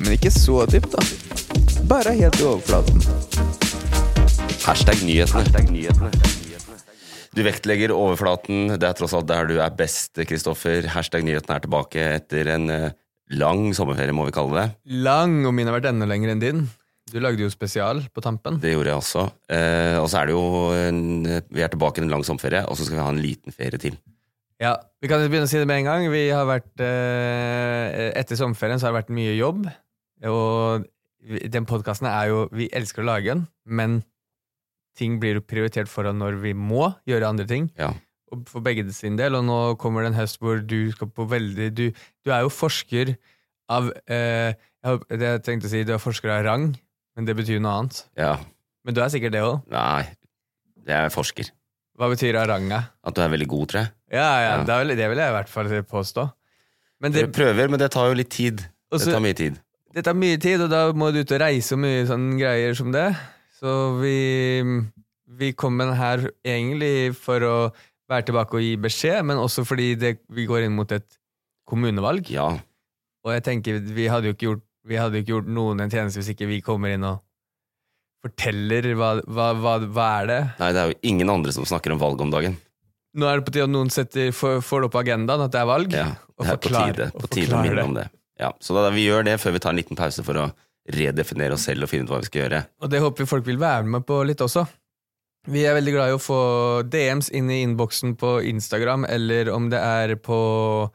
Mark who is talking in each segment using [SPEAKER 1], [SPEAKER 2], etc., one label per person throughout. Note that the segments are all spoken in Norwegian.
[SPEAKER 1] Men ikke så dypt, da. Bare helt i overflaten.
[SPEAKER 2] Hashtag nyhetene. Du vektlegger overflaten. Det er tross alt der du er best, Kristoffer. Hashtag nyhetene er tilbake etter en eh, lang sommerferie, må vi kalle det.
[SPEAKER 1] Lang, og min har vært enda lenger enn din. Du lagde jo spesial på tampen.
[SPEAKER 2] Det gjorde jeg også. Eh, og så er det jo en, Vi er tilbake i en lang sommerferie, og så skal vi ha en liten ferie til.
[SPEAKER 1] Ja, Vi kan jo begynne å si det med en gang. Vi har vært, eh, etter sommerferien så har det vært mye jobb. Og vi- den podkasten er jo Vi elsker å lage den, men ting blir jo prioritert foran når vi må gjøre andre ting.
[SPEAKER 2] Ja.
[SPEAKER 1] og for begge sin del, og nå kommer det en høst hvor du skal på veldig Du, du er jo forsker av eh, jeg, håper- Det jeg tenkte å si, du er forsker av rang, men det betyr noe annet.
[SPEAKER 2] ja.
[SPEAKER 1] Men du er sikkert det òg.
[SPEAKER 2] Nei, jeg er forsker.
[SPEAKER 1] Hva betyr av ranga?
[SPEAKER 2] At du er veldig god, tror jeg.
[SPEAKER 1] Ja, ja,
[SPEAKER 2] Ja.
[SPEAKER 1] Det, er vel- det vil jeg i hvert fall påstå. Men det,
[SPEAKER 2] Dere prøver, men det tar jo litt tid.
[SPEAKER 1] Og så-
[SPEAKER 2] det tar mye tid.
[SPEAKER 1] det tar mye tid, og da må du ut og reise og mye sånne greier som det. Så vi, vi kom med den her egentlig for å være tilbake og gi beskjed, men også fordi det, vi går inn mot et kommunevalg.
[SPEAKER 2] Ja.
[SPEAKER 1] Og jeg tenker, vi hadde jo ikke gjort, vi hadde jo ikke gjort noen en tjeneste hvis ikke vi kommer inn og forteller hva, hva, hva, hva er det.
[SPEAKER 2] Nei, det er jo ingen andre som snakker om valg om dagen.
[SPEAKER 1] Nå er det på tide at noen setter, får, får det opp på agendaen at det er valg.
[SPEAKER 2] Ja,
[SPEAKER 1] og
[SPEAKER 2] det er på
[SPEAKER 1] forklar-
[SPEAKER 2] tide,
[SPEAKER 1] og
[SPEAKER 2] på tide å
[SPEAKER 1] forklar
[SPEAKER 2] minne om det. Ja, så da, vi gjør det før vi tar en liten pause for å redefinere oss selv og finne ut hva vi skal gjøre.
[SPEAKER 1] Og det håper vi folk vil være med på litt også. Vi er veldig glad i å få DMs inn i innboksen på Instagram, eller om det er på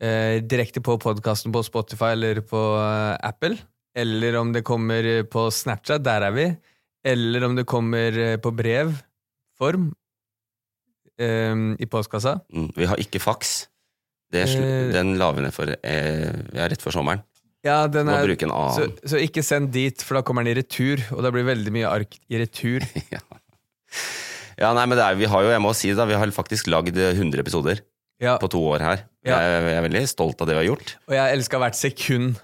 [SPEAKER 1] eh, direkte på podkasten på Spotify eller på eh, Apple. Eller om det kommer eh, på Snapchat, der er vi. Eller om det kommer eh, på brevform eh, i postkassa.
[SPEAKER 2] Mm, vi har ikke faks. Det slu,
[SPEAKER 1] Eh.
[SPEAKER 2] den la vi ned for eh, ja, rett før sommeren.
[SPEAKER 1] Ja, den
[SPEAKER 2] Må
[SPEAKER 1] er,
[SPEAKER 2] bruke en
[SPEAKER 1] så,
[SPEAKER 2] annen.
[SPEAKER 1] så ikke send dit, for da kommer den i retur, og da blir veldig mye ark i retur.
[SPEAKER 2] ja. ja, nei, men det er, vi har jo, jeg må si det, da, vi har faktisk lagd eh, 100 episoder
[SPEAKER 1] Ja,
[SPEAKER 2] på to år her.
[SPEAKER 1] Ja.
[SPEAKER 2] Jeg, jeg er veldig stolt av det vi har gjort.
[SPEAKER 1] og jeg elska hvert sekund.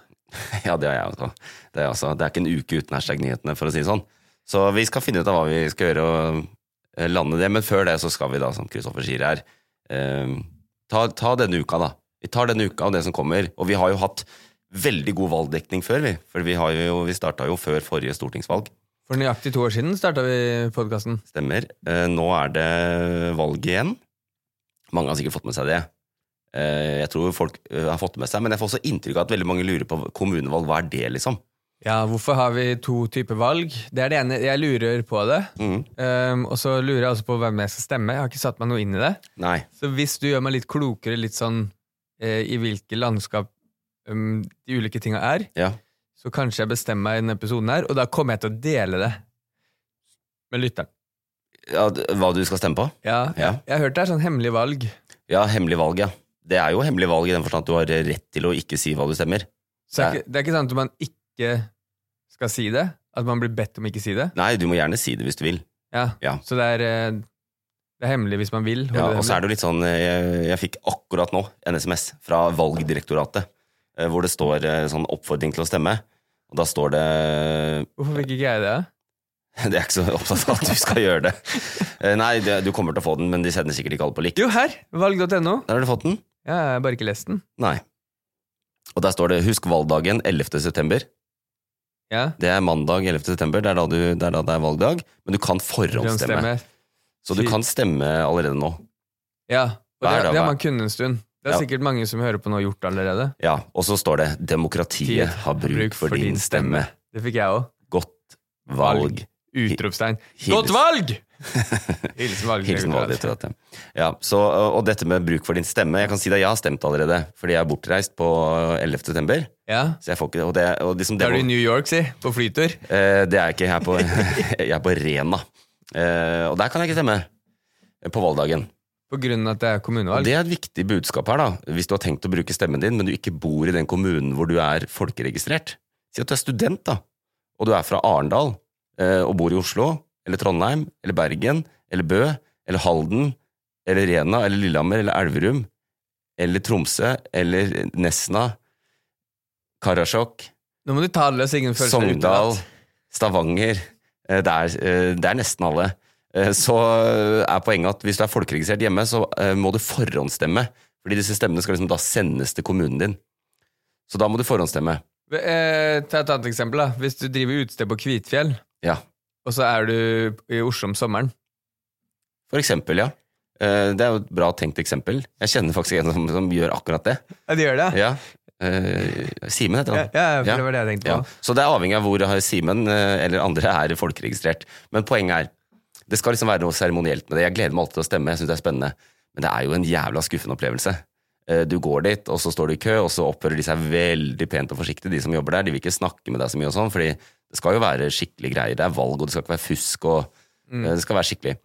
[SPEAKER 2] Ja, det har jeg også. Det, er jeg også. det er ikke en uke uten hashtag-nyhetene, for å si det sånn. Så vi skal finne ut av hva vi skal gjøre og eh, lande det, men før det så skal vi da, som Kristoffer sier her, eh, ta, ta denne uka da. Vi tar denne uka og det som kommer, og vi har jo hatt veldig god valgdekning før vi, for vi, har jo, vi startet jo før forrige stortingsvalg,
[SPEAKER 1] For nøyaktig to år siden starta vi podkasten.
[SPEAKER 2] stemmer. Eh, Nå er det valg igjen. Mange har sikkert fått med seg det. Eh, Jeg tror folk eh, har fått med seg, men jeg får også inntrykk av at veldig mange lurer på kommunevalg, hva er det liksom?
[SPEAKER 1] Ja, hvorfor har vi to typer valg? Det er det ene. Jeg lurer på det.
[SPEAKER 2] Mhm.
[SPEAKER 1] Ehm, og så lurer jeg også på hvem jeg skal stemme. Jeg har ikke satt meg noe inn i det.
[SPEAKER 2] Nei.
[SPEAKER 1] Så hvis du gjør meg litt klokere litt sånn eh, i hvilke landskap ehm, de ulike tinga er,
[SPEAKER 2] Ja.
[SPEAKER 1] så kanskje jeg bestemmer meg i denne episoden her, og da kommer jeg til å dele det med lytteren.
[SPEAKER 2] Ja, d- hva du skal stemme på?
[SPEAKER 1] Ja,
[SPEAKER 2] Ja.
[SPEAKER 1] Jeg, jeg har hørt det er sånn hemmelig valg.
[SPEAKER 2] Ja, hemmelig valg, ja. Det er jo hemmelig valg i den forstand at du har rett til å ikke si hva du stemmer.
[SPEAKER 1] Så det er, ikke, det er ikke sant at man ikke skal si det. At man blir bedt om ikke å si det.
[SPEAKER 2] Nei, du må gjerne si det hvis du vil.
[SPEAKER 1] Ja.
[SPEAKER 2] Ja.
[SPEAKER 1] Så det er, eh, det er hemmelig hvis man vil. holde
[SPEAKER 2] Ja,
[SPEAKER 1] det
[SPEAKER 2] og så
[SPEAKER 1] hemmelig.
[SPEAKER 2] er det jo litt sånn, eh, jeg, jeg fikk akkurat nå en SMS fra Valgdirektoratet, eh, hvor det står eh, sånn oppfordring til å stemme. Og da står det
[SPEAKER 1] Hvorfor fikk ikke jeg det?
[SPEAKER 2] Det er ikke så opptatt av at du skal gjøre det. Eh, Nei, det, du kommer til å få den, men de sender sikkert ikke alle på likt.
[SPEAKER 1] Jo, her! Valg.no.
[SPEAKER 2] Der har du fått den?
[SPEAKER 1] Ja, jeg har bare ikke lest den.
[SPEAKER 2] Nei. Og der står det 'Husk valgdagen 11. september'.
[SPEAKER 1] Ja.
[SPEAKER 2] Det er mandag 11. september, det er da, du, det, er da det er valgdag. Men du kan forhåndsstemme.
[SPEAKER 1] Forhåndsstemme.
[SPEAKER 2] Så du
[SPEAKER 1] Fy-
[SPEAKER 2] kan stemme allerede nå.
[SPEAKER 1] Ja, og
[SPEAKER 2] Hver
[SPEAKER 1] det,
[SPEAKER 2] dag,
[SPEAKER 1] det har
[SPEAKER 2] hver-
[SPEAKER 1] man kunnet en stund. Det er
[SPEAKER 2] Ja.
[SPEAKER 1] sikkert mange som hører på nå, gjort allerede.
[SPEAKER 2] Ja, og så står det 'Demokratiet har bruk for din stemme'.
[SPEAKER 1] Det fikk jeg òg.
[SPEAKER 2] Godt valg.
[SPEAKER 1] Utropstegn.
[SPEAKER 2] Hils-
[SPEAKER 1] Godt valg! Hilsen valg.
[SPEAKER 2] Hilsen valgdirektoratet. Ja, så, og dette med bruk for din stemme. Jeg kan si deg jeg har stemt allerede, fordi jeg er bortreist på 11. september.
[SPEAKER 1] Ja.
[SPEAKER 2] Så jeg får ikke, og det, og liksom, det,
[SPEAKER 1] Da er du i New York, si. På flytur.
[SPEAKER 2] Eh, det er jeg ikke. Jeg er på, jeg er på Rena. Eh, og der kan jeg ikke stemme eh, på valgdagen.
[SPEAKER 1] På grunn av at det er
[SPEAKER 2] Og
[SPEAKER 1] kommunevalg.
[SPEAKER 2] det er et viktig budskap her, da. Hvis du har tenkt å bruke stemmen din, men du ikke bor i den kommunen hvor du er folkeregistrert. Si at du er student, da, og du er fra Arendal eh, og bor i Oslo, eller Trondheim, eller Bergen, eller Bø, eller Halden, eller Rena, eller Lillehammer, eller Elverum, eller Tromsø, eller Nesna, Karasjok,
[SPEAKER 1] Nå må du ta alle og Signe først.
[SPEAKER 2] Sogndal, Stavanger eh, det er, eh, det er nesten alle. Eh, Så eh, er poenget at hvis du er folkeregistrert hjemme, så eh, må du forhåndsstemme. Fordi disse stemmene skal liksom da sendes til kommunen din. Så da må du forhåndsstemme.
[SPEAKER 1] Eh, ta et annet eksempel. da. Hvis du driver utested på Kvitfjell,
[SPEAKER 2] Ja,
[SPEAKER 1] og så er du i Oslo om sommeren
[SPEAKER 2] for eksempel, ja. Eh, Det er jo et bra tenkt eksempel. Jeg kjenner faktisk en som, som gjør akkurat det.
[SPEAKER 1] Ja, de gjør det?
[SPEAKER 2] Ja. Eh, Simen heter
[SPEAKER 1] Ja,
[SPEAKER 2] han.
[SPEAKER 1] ja, for det var det jeg tenkte
[SPEAKER 2] Ja.
[SPEAKER 1] på.
[SPEAKER 2] Så det er avhengig av hvor Simen eh, eller andre er folkeregistrert. Men poenget er, det skal liksom være noe seremonielt med det. Jeg gleder meg alltid til å stemme, jeg synes det er spennende. Men det er jo en jævla skuffende opplevelse. Eh, Du går dit, og så står du i kø, og så oppfører de seg veldig pent og forsiktig, de som jobber der. De vil ikke snakke med deg så mye og sånn, fordi det skal jo være skikkelig greier. Det er valg, og det skal ikke være fusk, og
[SPEAKER 1] Mm.
[SPEAKER 2] eh, det skal være skikkelig.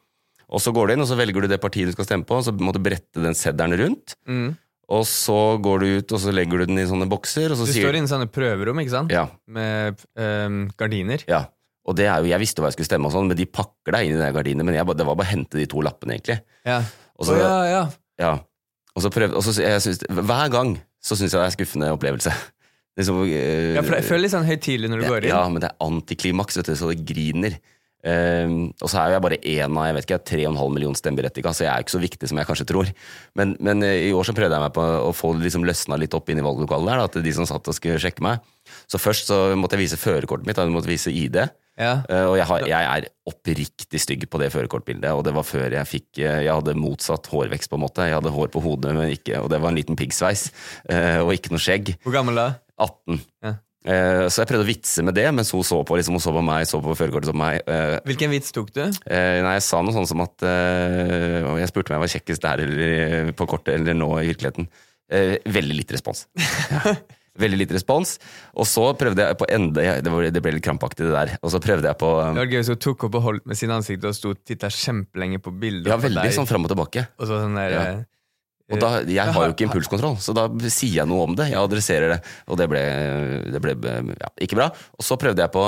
[SPEAKER 2] Og så går du inn, og så velger du det partiet du skal stemme på, og så må du brette den seddelen rundt.
[SPEAKER 1] Mm.
[SPEAKER 2] Og så går du ut, og så legger du den i sånne bokser, og så
[SPEAKER 1] Du
[SPEAKER 2] sier
[SPEAKER 1] står inne i sånne prøverom, ikke sant?
[SPEAKER 2] Ja.
[SPEAKER 1] Med ehm, gardiner.
[SPEAKER 2] Ja, og det er jo, jeg visste jo hva jeg skulle stemme og sånn, men de pakker deg inn i den gardinen, men jeg, bare- det var bare å hente de to lappene egentlig.
[SPEAKER 1] Ja.
[SPEAKER 2] Og
[SPEAKER 1] Å,
[SPEAKER 2] så,
[SPEAKER 1] ja, ja.
[SPEAKER 2] ja. Og så prøvde, og så, jeg synes, hver gang så synes jeg det er en skuffende opplevelse. Liksom, eh,
[SPEAKER 1] ja, for det føles litt sånn høytidelig når du går inn.
[SPEAKER 2] ja, men det er antiklimaks, vet du, så det griner. Ehm, og så er jo jeg bare én av jeg vet ikke, 3,5 millioner stemmeberettiga, så jeg er jo ikke så viktig som jeg kanskje tror. Men, men eh, i år så prøvde jeg meg på å få liksom løsna litt opp inn i valglokalet der, da, at de som satt og skulle sjekke meg. Så først så måtte jeg vise førerkortet mitt, da, jeg måtte vise ID.
[SPEAKER 1] Ja.
[SPEAKER 2] Eh, og jeg, har, jeg er oppriktig stygg på det førerkortbildet, og det var før jeg fikk eh, Jeg hadde motsatt hårvekst, på en måte. Jeg hadde hår på hodet, men ikke, og det var en liten piggsveis, eh, og ikke noe skjegg.
[SPEAKER 1] Hvor gammel da?
[SPEAKER 2] 18.
[SPEAKER 1] Ja.
[SPEAKER 2] Eh, Så jeg prøvde å vitse med det, mens hun så på, liksom, hun så på meg, så på førerkortet så på meg. Eh,
[SPEAKER 1] Hvilken vits tok du?
[SPEAKER 2] eh, Nei, jeg sa noe sånn som at eh, og Jeg spurte om jeg var kjekkest der eller eh, på kortet eller nå i virkeligheten. Eh, Veldig lite respons. Ja. Veldig lite respons. Og så prøvde jeg på enda jeg- Det var- det ble litt krampaktig, det der. Og så prøvde jeg på eh,
[SPEAKER 1] Det var gøy hvis hun tok opp og holdt med sin ansikt og sto og titta kjempelenge på bildet.
[SPEAKER 2] Ja,
[SPEAKER 1] på
[SPEAKER 2] veldig
[SPEAKER 1] deg,
[SPEAKER 2] sånn fram og tilbake.
[SPEAKER 1] Og så sånn der
[SPEAKER 2] Ja.
[SPEAKER 1] eh,
[SPEAKER 2] Og da, jeg har
[SPEAKER 1] har-
[SPEAKER 2] jo ikke impulskontroll, så da sier jeg noe om det. Jeg adresserer det, og det ble, det ble ja, ikke bra. Og så prøvde jeg på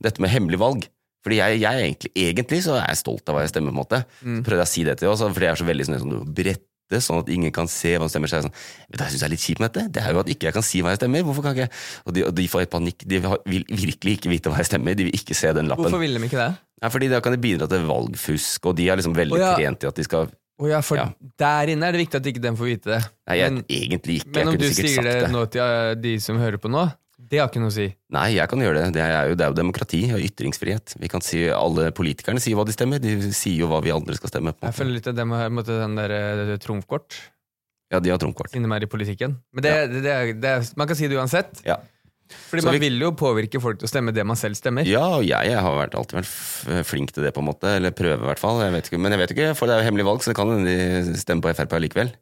[SPEAKER 2] dette med hemmelig valg. Fordi jeg, jeg er egentlig, egentlig så er jeg stolt av hva jeg stemmer, på en måte.
[SPEAKER 1] Mm.
[SPEAKER 2] Så prøvde jeg å si det til henne, også, fordi jeg er så veldig sånn som du brette, sånn at ingen kan se hva hun stemmer. Så jeg er sånn, vet du, hva jeg synes det er litt kjipt med dette. Det er jo at ikke jeg kan si hva jeg stemmer. Hvorfor kan ikke jeg? Og de, og de får helt panikk. De har- vil virkelig ikke vite hva jeg stemmer. De vil ikke se den lappen.
[SPEAKER 1] Hvorfor ville de ikke det?
[SPEAKER 2] Nei, fordi da kan det bidra til valgfusk, og de er liksom veldig
[SPEAKER 1] Å, ja.
[SPEAKER 2] trent i at de skal
[SPEAKER 1] Å ja, for
[SPEAKER 2] Ja.
[SPEAKER 1] der inne er det viktig at ikke den får vite det.
[SPEAKER 2] Nei, jeg,
[SPEAKER 1] men,
[SPEAKER 2] egentlig ikke.
[SPEAKER 1] men
[SPEAKER 2] jeg
[SPEAKER 1] om du
[SPEAKER 2] kunne sikkert
[SPEAKER 1] sier
[SPEAKER 2] sagt
[SPEAKER 1] det
[SPEAKER 2] det.
[SPEAKER 1] nå til eh, de som hører på nå, det har ikke noe å si.
[SPEAKER 2] Nei, jeg kan gjøre det. Det er jo, det er jo demokrati og ytringsfrihet. Vi kan si, Alle politikerne sier hva de stemmer. De sier jo hva vi andre skal stemme. på. en
[SPEAKER 1] Jeg
[SPEAKER 2] måte.
[SPEAKER 1] føler litt at de har måtte, den der eh, trumfkort
[SPEAKER 2] Ja, de har trumfkort.
[SPEAKER 1] inni meg i politikken. Men det, det, det, er- det, er- man kan si det uansett.
[SPEAKER 2] Ja.
[SPEAKER 1] Fordi
[SPEAKER 2] Så
[SPEAKER 1] man
[SPEAKER 2] vi-
[SPEAKER 1] vil jo påvirke folk til å stemme det man selv stemmer.
[SPEAKER 2] Ja, og jeg, jeg har vært, alltid vært f- flink til det, på en måte. Eller prøve, i hvert fall. Jeg vet ikke, men jeg vet ikke, for det er jo hemmelig valg, så det kan hende de stemmer på Frp likevel.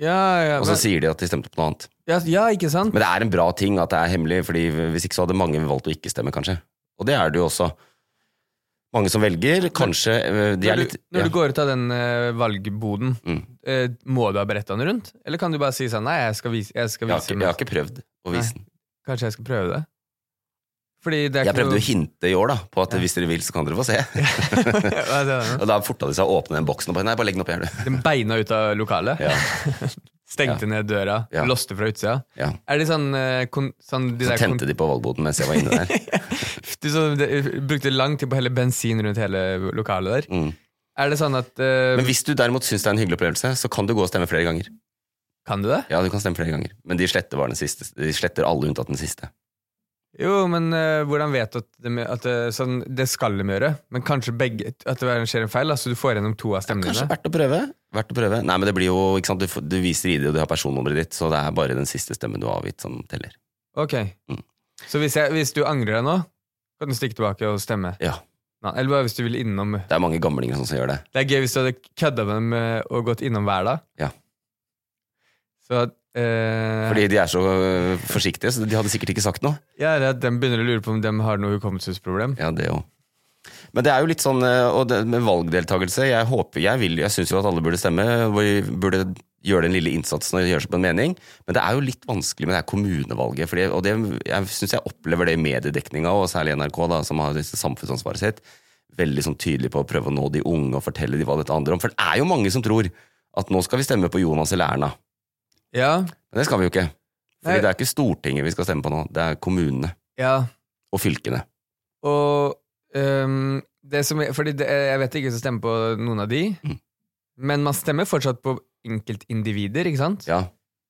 [SPEAKER 1] Ja, ja,
[SPEAKER 2] Og så
[SPEAKER 1] men,
[SPEAKER 2] sier de at de stemte på noe annet.
[SPEAKER 1] ja, ja ikke sant?
[SPEAKER 2] Men det er en bra ting at det er hemmelig, fordi hvis ikke så hadde mange valgt å ikke stemme, kanskje. Og det er det jo også. Mange som velger, kanskje eh, De er
[SPEAKER 1] Når
[SPEAKER 2] litt
[SPEAKER 1] du, når
[SPEAKER 2] ja. Mm.
[SPEAKER 1] du går ut av den eh, valgboden, eh, må du ha beredt den rundt? Eller kan du bare si sånn Nei, jeg skal vise, jeg skal
[SPEAKER 2] jeg, har
[SPEAKER 1] vise
[SPEAKER 2] ikke,
[SPEAKER 1] meg».
[SPEAKER 2] jeg har ikke prøvd å
[SPEAKER 1] Nei.
[SPEAKER 2] vise den.
[SPEAKER 1] Kanskje jeg skal prøve det? Fordi det er
[SPEAKER 2] Jeg
[SPEAKER 1] ikke
[SPEAKER 2] prøvde
[SPEAKER 1] noe-
[SPEAKER 2] å hinte i år da, på at hvis dere vil, så kan dere få se.
[SPEAKER 1] Hva er det nå?
[SPEAKER 2] og da forta de seg å åpne den boksen og bare Nei, bare legg den opp her, du.
[SPEAKER 1] Den beina ut av lokalet.
[SPEAKER 2] Ja.
[SPEAKER 1] Stengte ned døra.
[SPEAKER 2] Ja.
[SPEAKER 1] Låste fra utsida.
[SPEAKER 2] Ja.
[SPEAKER 1] Er det sånn, eh, kon, sånn de
[SPEAKER 2] Så
[SPEAKER 1] der kon,
[SPEAKER 2] tente de på valgboden mens jeg var inne der.
[SPEAKER 1] du, sånn, de, Brukte lang tid på å helle bensin rundt hele lokalet der. Er det sånn at eh,
[SPEAKER 2] Men Mm. hvis du derimot syns det er en hyggelig opplevelse, så kan du gå og stemme flere ganger.
[SPEAKER 1] Kan du det?
[SPEAKER 2] Ja, du kan stemme flere ganger. Men de sletter, bare den siste. De sletter alle unntatt den siste.
[SPEAKER 1] Jo, men eh, hvordan vet du at, det, at det, sånn, det skal de gjøre? Men kanskje begge, at det skjer en feil? Altså du får gjennom to av stemmene
[SPEAKER 2] Kanskje
[SPEAKER 1] dine?
[SPEAKER 2] verdt å prøve? Verdt å prøve. Nei, men det blir jo, ikke sant, du, får- du viser ID, og du har personnummeret ditt, så det er bare den siste stemmen du har avgitt, som teller.
[SPEAKER 1] Ok.
[SPEAKER 2] Mm.
[SPEAKER 1] Så hvis, jeg, hvis du angrer deg nå, kan du stikke tilbake og stemme?
[SPEAKER 2] Ja.
[SPEAKER 1] Nei, eller bare hvis du vil innom
[SPEAKER 2] Det er mange gamlinger sånn som gjør det.
[SPEAKER 1] Det er gøy hvis du hadde kødda med dem eh, og gått innom hver dag.
[SPEAKER 2] Ja.
[SPEAKER 1] Så at, eh,
[SPEAKER 2] Fordi de er så øh, forsiktige, så de hadde sikkert ikke sagt noe.
[SPEAKER 1] jeg er redd de begynner å lure på om de har noe hukommelsesproblem.
[SPEAKER 2] Ja, det også. Men det er jo litt sånn, øh, og det med valgdeltakelse, jeg håper, jeg vil, jeg synes jo at alle burde stemme, og vi burde gjøre den lille innsatsen og gjøre seg på en mening, men det er jo litt vanskelig med det her kommunevalget, fordi, og det, jeg synes jeg opplever det i mediedekninga, og særlig NRK da, som har disse samfunnsansvaret sitt, veldig sånn tydelig på å prøve å nå de unge og fortelle de hva dette handler om, for det er jo mange som tror at nå skal vi stemme på Jonas eller Erna.
[SPEAKER 1] Ja,
[SPEAKER 2] Men det skal vi jo ikke. Fordi
[SPEAKER 1] Nei.
[SPEAKER 2] det er ikke Stortinget vi skal stemme på nå, det er kommunene
[SPEAKER 1] ja.
[SPEAKER 2] og fylkene.
[SPEAKER 1] Og ehm, det som, fordi det, jeg vet ikke hvem som stemmer på noen av de,
[SPEAKER 2] Mm.
[SPEAKER 1] men man stemmer fortsatt på enkeltindivider, ikke sant?
[SPEAKER 2] Ja,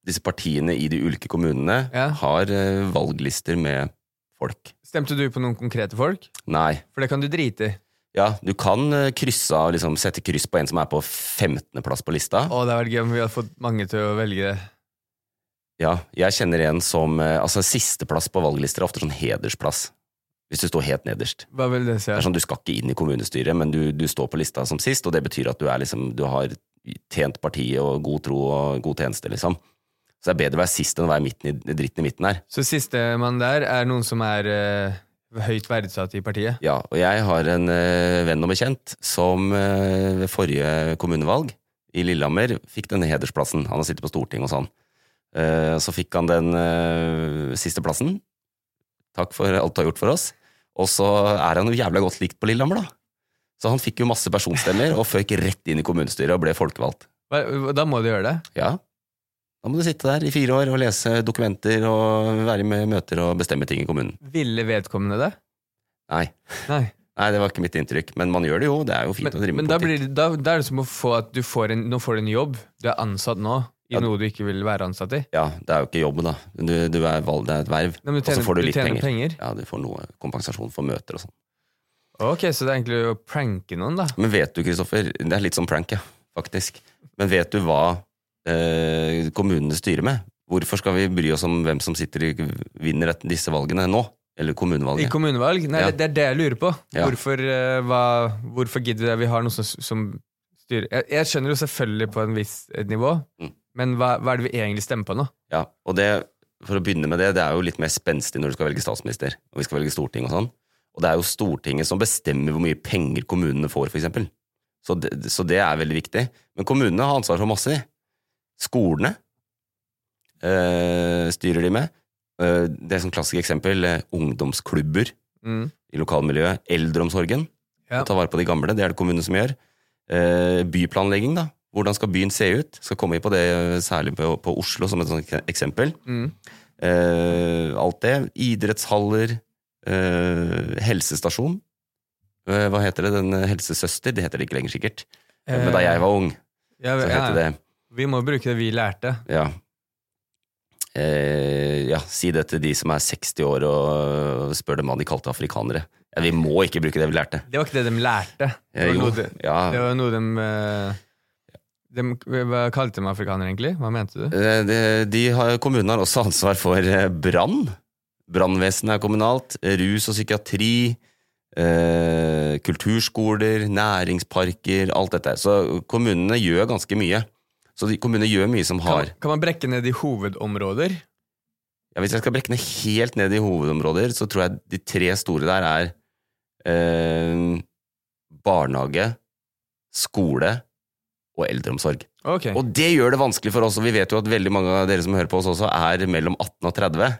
[SPEAKER 2] disse partiene i de ulike kommunene
[SPEAKER 1] Ja.
[SPEAKER 2] har eh, valglister med folk.
[SPEAKER 1] Stemte du på noen konkrete folk?
[SPEAKER 2] Nei.
[SPEAKER 1] For det kan du drite i.
[SPEAKER 2] Ja, du kan eh, krysse av, liksom sette kryss på en som er på 15. plass på lista.
[SPEAKER 1] Å, det hadde vært gøy om vi hadde fått mange til å velge det.
[SPEAKER 2] Ja, jeg kjenner en som eh, Altså, sisteplass på valglister er ofte sånn hedersplass. Hvis du står helt nederst.
[SPEAKER 1] Hva vil det si?
[SPEAKER 2] Det er sånn Du skal ikke inn i kommunestyret, men du, du står på lista som sist, og det betyr at du, er liksom, du har tjent partiet og god tro og god tjeneste, liksom. Så det er bedre å være sist enn å være midten i, dritten i midten her.
[SPEAKER 1] Så sistemann der er noen som er eh, høyt verdsatt i partiet?
[SPEAKER 2] Ja, og jeg har en eh, venn og bekjent som eh, ved forrige kommunevalg i Lillehammer fikk denne hedersplassen. Han har sittet på Stortinget hos han. Eh, så fikk han den eh, siste plassen. Takk for alt du har gjort for oss. Og så er han jo jævla godt likt på Lillehammer, da. Så han fikk jo masse personstemmer og føyk rett inn i kommunestyret og ble folkevalgt.
[SPEAKER 1] Hva- Da må de gjøre det?
[SPEAKER 2] Ja, da må du sitte der i fire år og lese dokumenter og være med i møter og bestemme ting i kommunen.
[SPEAKER 1] Ville vedkommende det?
[SPEAKER 2] Nei.
[SPEAKER 1] Nei.
[SPEAKER 2] Nei, det var ikke mitt inntrykk, men man gjør det jo. Det er jo fint
[SPEAKER 1] Men,
[SPEAKER 2] å drive
[SPEAKER 1] men
[SPEAKER 2] med
[SPEAKER 1] da,
[SPEAKER 2] politikk.
[SPEAKER 1] blir, det- da, da er det som å få at du får en, nå får du en jobb. Du er ansatt nå i
[SPEAKER 2] Ja.
[SPEAKER 1] noe du ikke vil være ansatt i.
[SPEAKER 2] Ja, det er jo ikke jobben, da. Du, du er valg, det er et verv.
[SPEAKER 1] Nei, men du
[SPEAKER 2] og så
[SPEAKER 1] tjener-
[SPEAKER 2] får du
[SPEAKER 1] du
[SPEAKER 2] litt
[SPEAKER 1] tjener
[SPEAKER 2] penger.
[SPEAKER 1] penger.
[SPEAKER 2] Ja, du får noe kompensasjon for møter og sånn.
[SPEAKER 1] Ok, Så det er egentlig å pranke noen, da.
[SPEAKER 2] Men vet du, Kristoffer, det er litt som prank, ja, faktisk. Men vet du hva eh, kommunene styrer med? Hvorfor skal vi bry oss om hvem som sitter i, vinner et, disse valgene nå? Eller
[SPEAKER 1] I
[SPEAKER 2] kommunevalget?
[SPEAKER 1] kommunevalg? Nei,
[SPEAKER 2] Ja.
[SPEAKER 1] det er det jeg lurer på.
[SPEAKER 2] Ja.
[SPEAKER 1] Hvorfor, eh, hva, hvorfor gidder vi det? Vi har noe som, som styrer jeg, jeg skjønner jo selvfølgelig på en viss et nivå,
[SPEAKER 2] Mm.
[SPEAKER 1] men hva, hva er det vi egentlig stemmer på nå?
[SPEAKER 2] ja, og det, for å begynne med det, det er jo litt mer spenstig når du skal velge statsminister, og vi skal velge storting og sånn. Og det er jo Stortinget som bestemmer hvor mye penger kommunene får, for eksempel. Så det, så det er veldig viktig. Men kommunene har ansvar for masse, de. Skolene eh, styrer de med. Eh, det er sånn klassisk eksempel, eh, ungdomsklubber
[SPEAKER 1] Mm.
[SPEAKER 2] i lokalmiljøet, eldreomsorgen,
[SPEAKER 1] Ja.
[SPEAKER 2] å ta vare på de gamle, det er det kommunene som gjør. Eh, byplanlegging, da. Hvordan skal byen se ut? Skal komme inn på det, eh, særlig på, på Oslo, som et sånt eksempel.
[SPEAKER 1] Mm.
[SPEAKER 2] Eh, alt det. Idrettshaller, eh, helsestasjon. Eh, hva heter det? Den eh, helsesøster? Det heter det ikke lenger, sikkert. Eh, Men da jeg var ung,
[SPEAKER 1] ja,
[SPEAKER 2] så
[SPEAKER 1] Eh, ja,
[SPEAKER 2] het det det.
[SPEAKER 1] Vi må bruke det vi lærte.
[SPEAKER 2] Ja. Eh, ja, si det til de som er 60 år og spør dem hva de kalte afrikanere. Ja, vi må ikke bruke det vi lærte.
[SPEAKER 1] Det var ikke det de lærte. Det
[SPEAKER 2] Eh,
[SPEAKER 1] var
[SPEAKER 2] jo,
[SPEAKER 1] noe de,
[SPEAKER 2] ja.
[SPEAKER 1] det var noe de, eh, de Hva kalte de afrikanere, egentlig? Hva mente du?
[SPEAKER 2] Eh, De, de har, kommunen har også ansvar for eh, brann. Brannvesenet er kommunalt. eh, Rus og psykiatri. Eh, kulturskoler, næringsparker, alt dette. Så kommunene gjør ganske mye. Så de, kommunene gjør mye som har
[SPEAKER 1] Kan, kan man brekke ned i hovedområder?
[SPEAKER 2] ja, Hvis jeg skal brekke ned helt ned i hovedområder, så tror jeg de tre store der er eh, barnehage, skole og eldreomsorg.
[SPEAKER 1] Ok.
[SPEAKER 2] Og det gjør det vanskelig for oss, og vi vet jo at veldig mange av dere som hører på oss også, er mellom 18 og 30.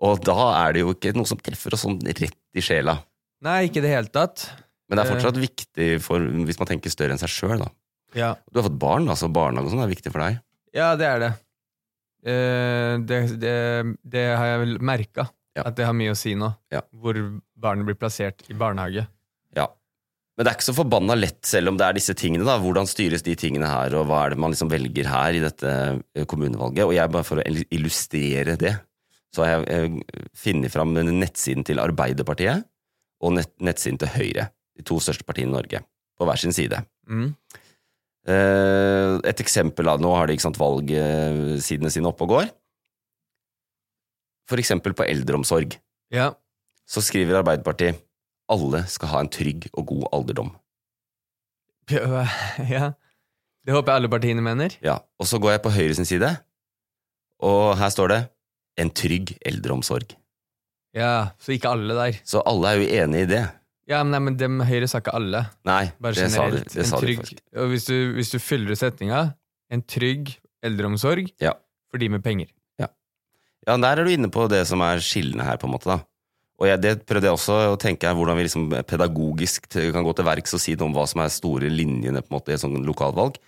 [SPEAKER 2] Og da er det jo ikke noe som treffer oss sånn rett i sjela.
[SPEAKER 1] Nei, ikke i det hele tatt.
[SPEAKER 2] Men det er fortsatt viktig for, hvis man tenker større enn seg sjøl, da.
[SPEAKER 1] Ja.
[SPEAKER 2] Du har fått barn, altså barnehage og sånn er viktig for deg.
[SPEAKER 1] Ja, det er det. Eh, det, det. Det har jeg vel merka,
[SPEAKER 2] Ja.
[SPEAKER 1] at det har mye å si nå.
[SPEAKER 2] Ja.
[SPEAKER 1] Hvor barnet blir plassert i barnehage.
[SPEAKER 2] Ja. Men det er ikke så forbanna lett, selv om det er disse tingene, da. Hvordan styres de tingene her, og hva er det man liksom velger her i dette eh, kommunevalget? Og jeg, bare for å il- illustrere det, så har jeg eh, funnet fram den nettsiden til Arbeiderpartiet og nett, nettsiden til Høyre. De to største partiene i Norge, på hver sin side.
[SPEAKER 1] Mm.
[SPEAKER 2] Eh, Et eksempel da, nå har de ikke sant, valgsidene sine oppe og går. For eksempel på eldreomsorg,
[SPEAKER 1] Ja.
[SPEAKER 2] så skriver Arbeiderpartiet alle skal ha en trygg og god alderdom.
[SPEAKER 1] Ja, ja. Det håper jeg alle partiene mener.
[SPEAKER 2] Ja, og så går jeg på Høyre sin side, og her står det en trygg eldreomsorg.
[SPEAKER 1] Ja, Så ikke alle der.
[SPEAKER 2] Så alle er jo enig i det.
[SPEAKER 1] Ja, men, nei, men dem Høyre sa ikke alle.
[SPEAKER 2] Nei,
[SPEAKER 1] Bare
[SPEAKER 2] det sa de,
[SPEAKER 1] generelt.
[SPEAKER 2] det sa
[SPEAKER 1] en
[SPEAKER 2] de
[SPEAKER 1] trygg,
[SPEAKER 2] først.
[SPEAKER 1] og hvis du, hvis du fyller ut setninga En trygg eldreomsorg
[SPEAKER 2] Ja.
[SPEAKER 1] for de med penger.
[SPEAKER 2] Ja, der er du inne på det som er skillene her, på en måte, da. Og jeg, det prøvde jeg også å tenke her, hvordan vi liksom pedagogisk t- kan gå til verks og si noe om hva som er store linjene på en måte i et sånt lokalvalg.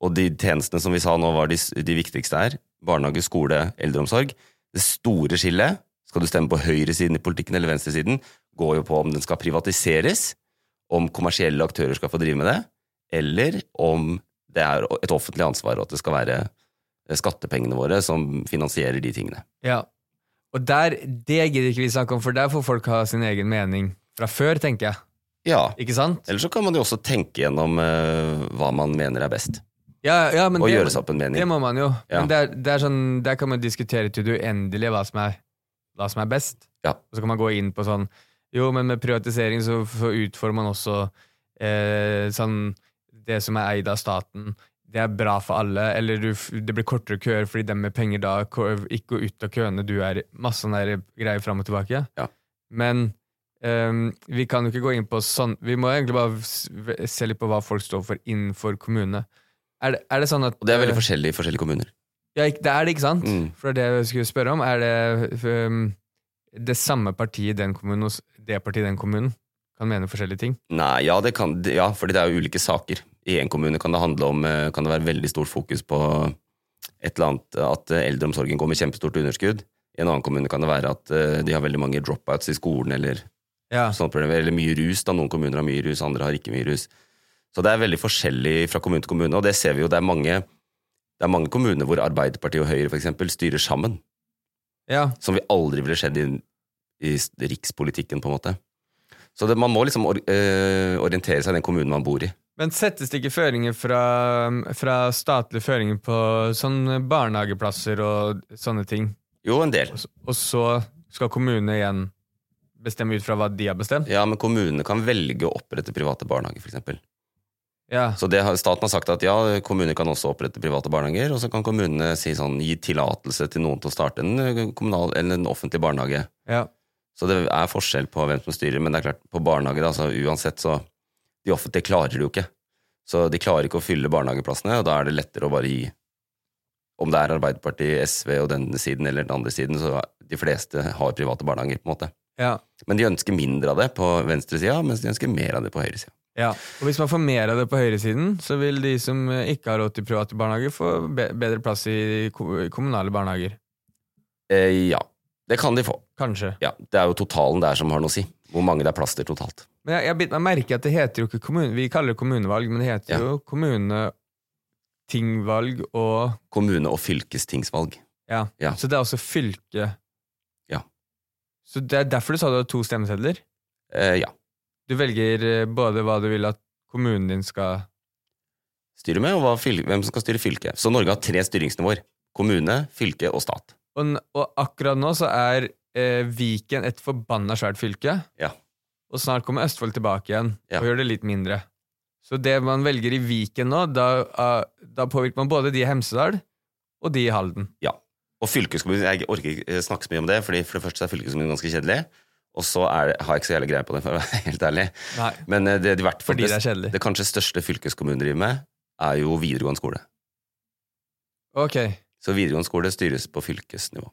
[SPEAKER 2] Og de tjenestene som vi sa nå var de, s- de viktigste her, barnehage, skole, eldreomsorg. Det store skillet, skal du stemme på høyresiden i politikken eller venstresiden, går jo på om den skal privatiseres, om kommersielle aktører skal få drive med det, eller om det er et offentlig ansvar og at det skal være eh, skattepengene våre som finansierer de tingene.
[SPEAKER 1] Ja. Og der, det gidder ikke vi snakke om, for der får folk ha sin egen mening fra før, tenker jeg.
[SPEAKER 2] Ja,
[SPEAKER 1] Ikke sant?
[SPEAKER 2] eller så kan man jo også tenke gjennom eh, hva man mener er best,
[SPEAKER 1] Ja, ja, men
[SPEAKER 2] og
[SPEAKER 1] det,
[SPEAKER 2] gjøre seg opp en mening.
[SPEAKER 1] det må man jo.
[SPEAKER 2] Ja.
[SPEAKER 1] Men det er, det er sånn, der kan man diskutere til det uendelige hva som er, hva som er best.
[SPEAKER 2] Ja.
[SPEAKER 1] Og så kan man gå inn på sånn Jo, men med privatisering så, så utformer man også eh, sånn Det som er eid av staten. Det er bra for alle. Eller du, f- det blir kortere køer fordi dem med penger da ko- ikke går ut av køene. Du er masse sånne der greier fram og tilbake.
[SPEAKER 2] Ja.
[SPEAKER 1] Men ehm, vi kan jo ikke gå inn på sånn Vi må egentlig bare s- v- se litt på hva folk står for innenfor kommunene. Er det, er det sånn at
[SPEAKER 2] Og det er
[SPEAKER 1] eh,
[SPEAKER 2] veldig forskjellig i forskjellige kommuner.
[SPEAKER 1] ja, ikk- det er det, ikke sant?
[SPEAKER 2] Mm.
[SPEAKER 1] For det er det jeg skulle spørre om. Er det um, det samme partiet i den kommunen hos det partiet i den kommunen? Kan mene forskjellige ting.
[SPEAKER 2] Nei, ja, det kan, ja, fordi det er jo ulike saker. I én kommune kan det handle om eh, Kan det være veldig stort fokus på et eller annet At eh, eldreomsorgen går med kjempestort underskudd. I en annen kommune kan det være at eh, de har veldig mange dropouts i skolen, eller,
[SPEAKER 1] Ja.
[SPEAKER 2] sånne problemer, eller mye rus. da Noen kommuner har mye rus, andre har ikke mye rus. Så det er veldig forskjellig fra kommune til kommune, og det ser vi jo. Det er mange, det er mange kommuner hvor Arbeiderpartiet og Høyre for eksempel styrer sammen.
[SPEAKER 1] ja.
[SPEAKER 2] som vi aldri ville skjedd i, i s- rikspolitikken, på en måte. Så det, man må liksom or, eh, orientere seg i den kommunen man bor i.
[SPEAKER 1] Men settes det ikke føringer fra, um, fra statlige føringer på sånn barnehageplasser og sånne ting?
[SPEAKER 2] Jo, en del.
[SPEAKER 1] Og så- Og så skal kommunene igjen bestemme ut fra hva de har bestemt?
[SPEAKER 2] Ja, men kommunene kan velge å opprette private barnehager, f.eks.
[SPEAKER 1] Ja.
[SPEAKER 2] Så det, har- staten har sagt at ja, kommuner kan også opprette private barnehager, og så kan kommunene si sånn, gi tillatelse til noen til å starte en eh, kommunal eller en offentlig barnehage.
[SPEAKER 1] ja.
[SPEAKER 2] Så det er forskjell på hvem som styrer, men det er klart, på barnehager, altså uansett, så De offentlige klarer det jo ikke. Så de klarer ikke å fylle barnehageplassene, og da er det lettere å bare gi. Om det er Arbeiderpartiet, SV og den siden eller den andre siden, så de fleste har private barnehager, på en måte.
[SPEAKER 1] ja.
[SPEAKER 2] Men de ønsker mindre av det på venstresida, mens de ønsker mer av det på høyresida.
[SPEAKER 1] Ja, og hvis man får mer av det på høyresiden, så vil de som eh, ikke har råd til private barnehager, få be bedre plass i ko- kommunale barnehager.
[SPEAKER 2] Eh, ja, det kan de få.
[SPEAKER 1] Kanskje.
[SPEAKER 2] Ja, Det er jo totalen der som har noe å si. Hvor mange det er plass til totalt.
[SPEAKER 1] Men jeg, jeg bit meg merke i at det heter jo ikke kommune... Vi kaller det kommunevalg, men det heter
[SPEAKER 2] Ja.
[SPEAKER 1] jo kommunetingvalg og
[SPEAKER 2] Kommune- og fylkestingsvalg.
[SPEAKER 1] ja.
[SPEAKER 2] Ja.
[SPEAKER 1] Så det er også fylke.
[SPEAKER 2] Ja.
[SPEAKER 1] Så det er derfor du sa du har to stemmesedler?
[SPEAKER 2] Eh, ja.
[SPEAKER 1] Du velger eh, både hva du vil at kommunen din skal
[SPEAKER 2] Styre med, og hva fyl hvem som skal styre fylket. Så Norge har tre styringsnivåer. Kommune, fylke og stat.
[SPEAKER 1] Og, n- og akkurat nå så er eh, Viken et forbanna svært fylke.
[SPEAKER 2] Ja.
[SPEAKER 1] Og snart kommer Østfold tilbake igjen
[SPEAKER 2] Ja.
[SPEAKER 1] og gjør det litt mindre. Så det man velger i Viken nå, da, ah, da påvirker man både de i Hemsedal og de i Halden.
[SPEAKER 2] Ja. Og fylkeskommunen, jeg orker ikke eh, snakke så mye om det, fordi for det første så er fylkeskommunen ganske kjedelig, og så er, det- har jeg ikke så jævlig greie på det, for å være helt ærlig.
[SPEAKER 1] Nei.
[SPEAKER 2] Men eh, det, det, i hvert fall
[SPEAKER 1] Fordi det er
[SPEAKER 2] det,
[SPEAKER 1] kjedelig.
[SPEAKER 2] det kanskje største fylkeskommunen driver med, er jo videregående skole.
[SPEAKER 1] Ok.
[SPEAKER 2] Så videregående skole styres på fylkesnivå.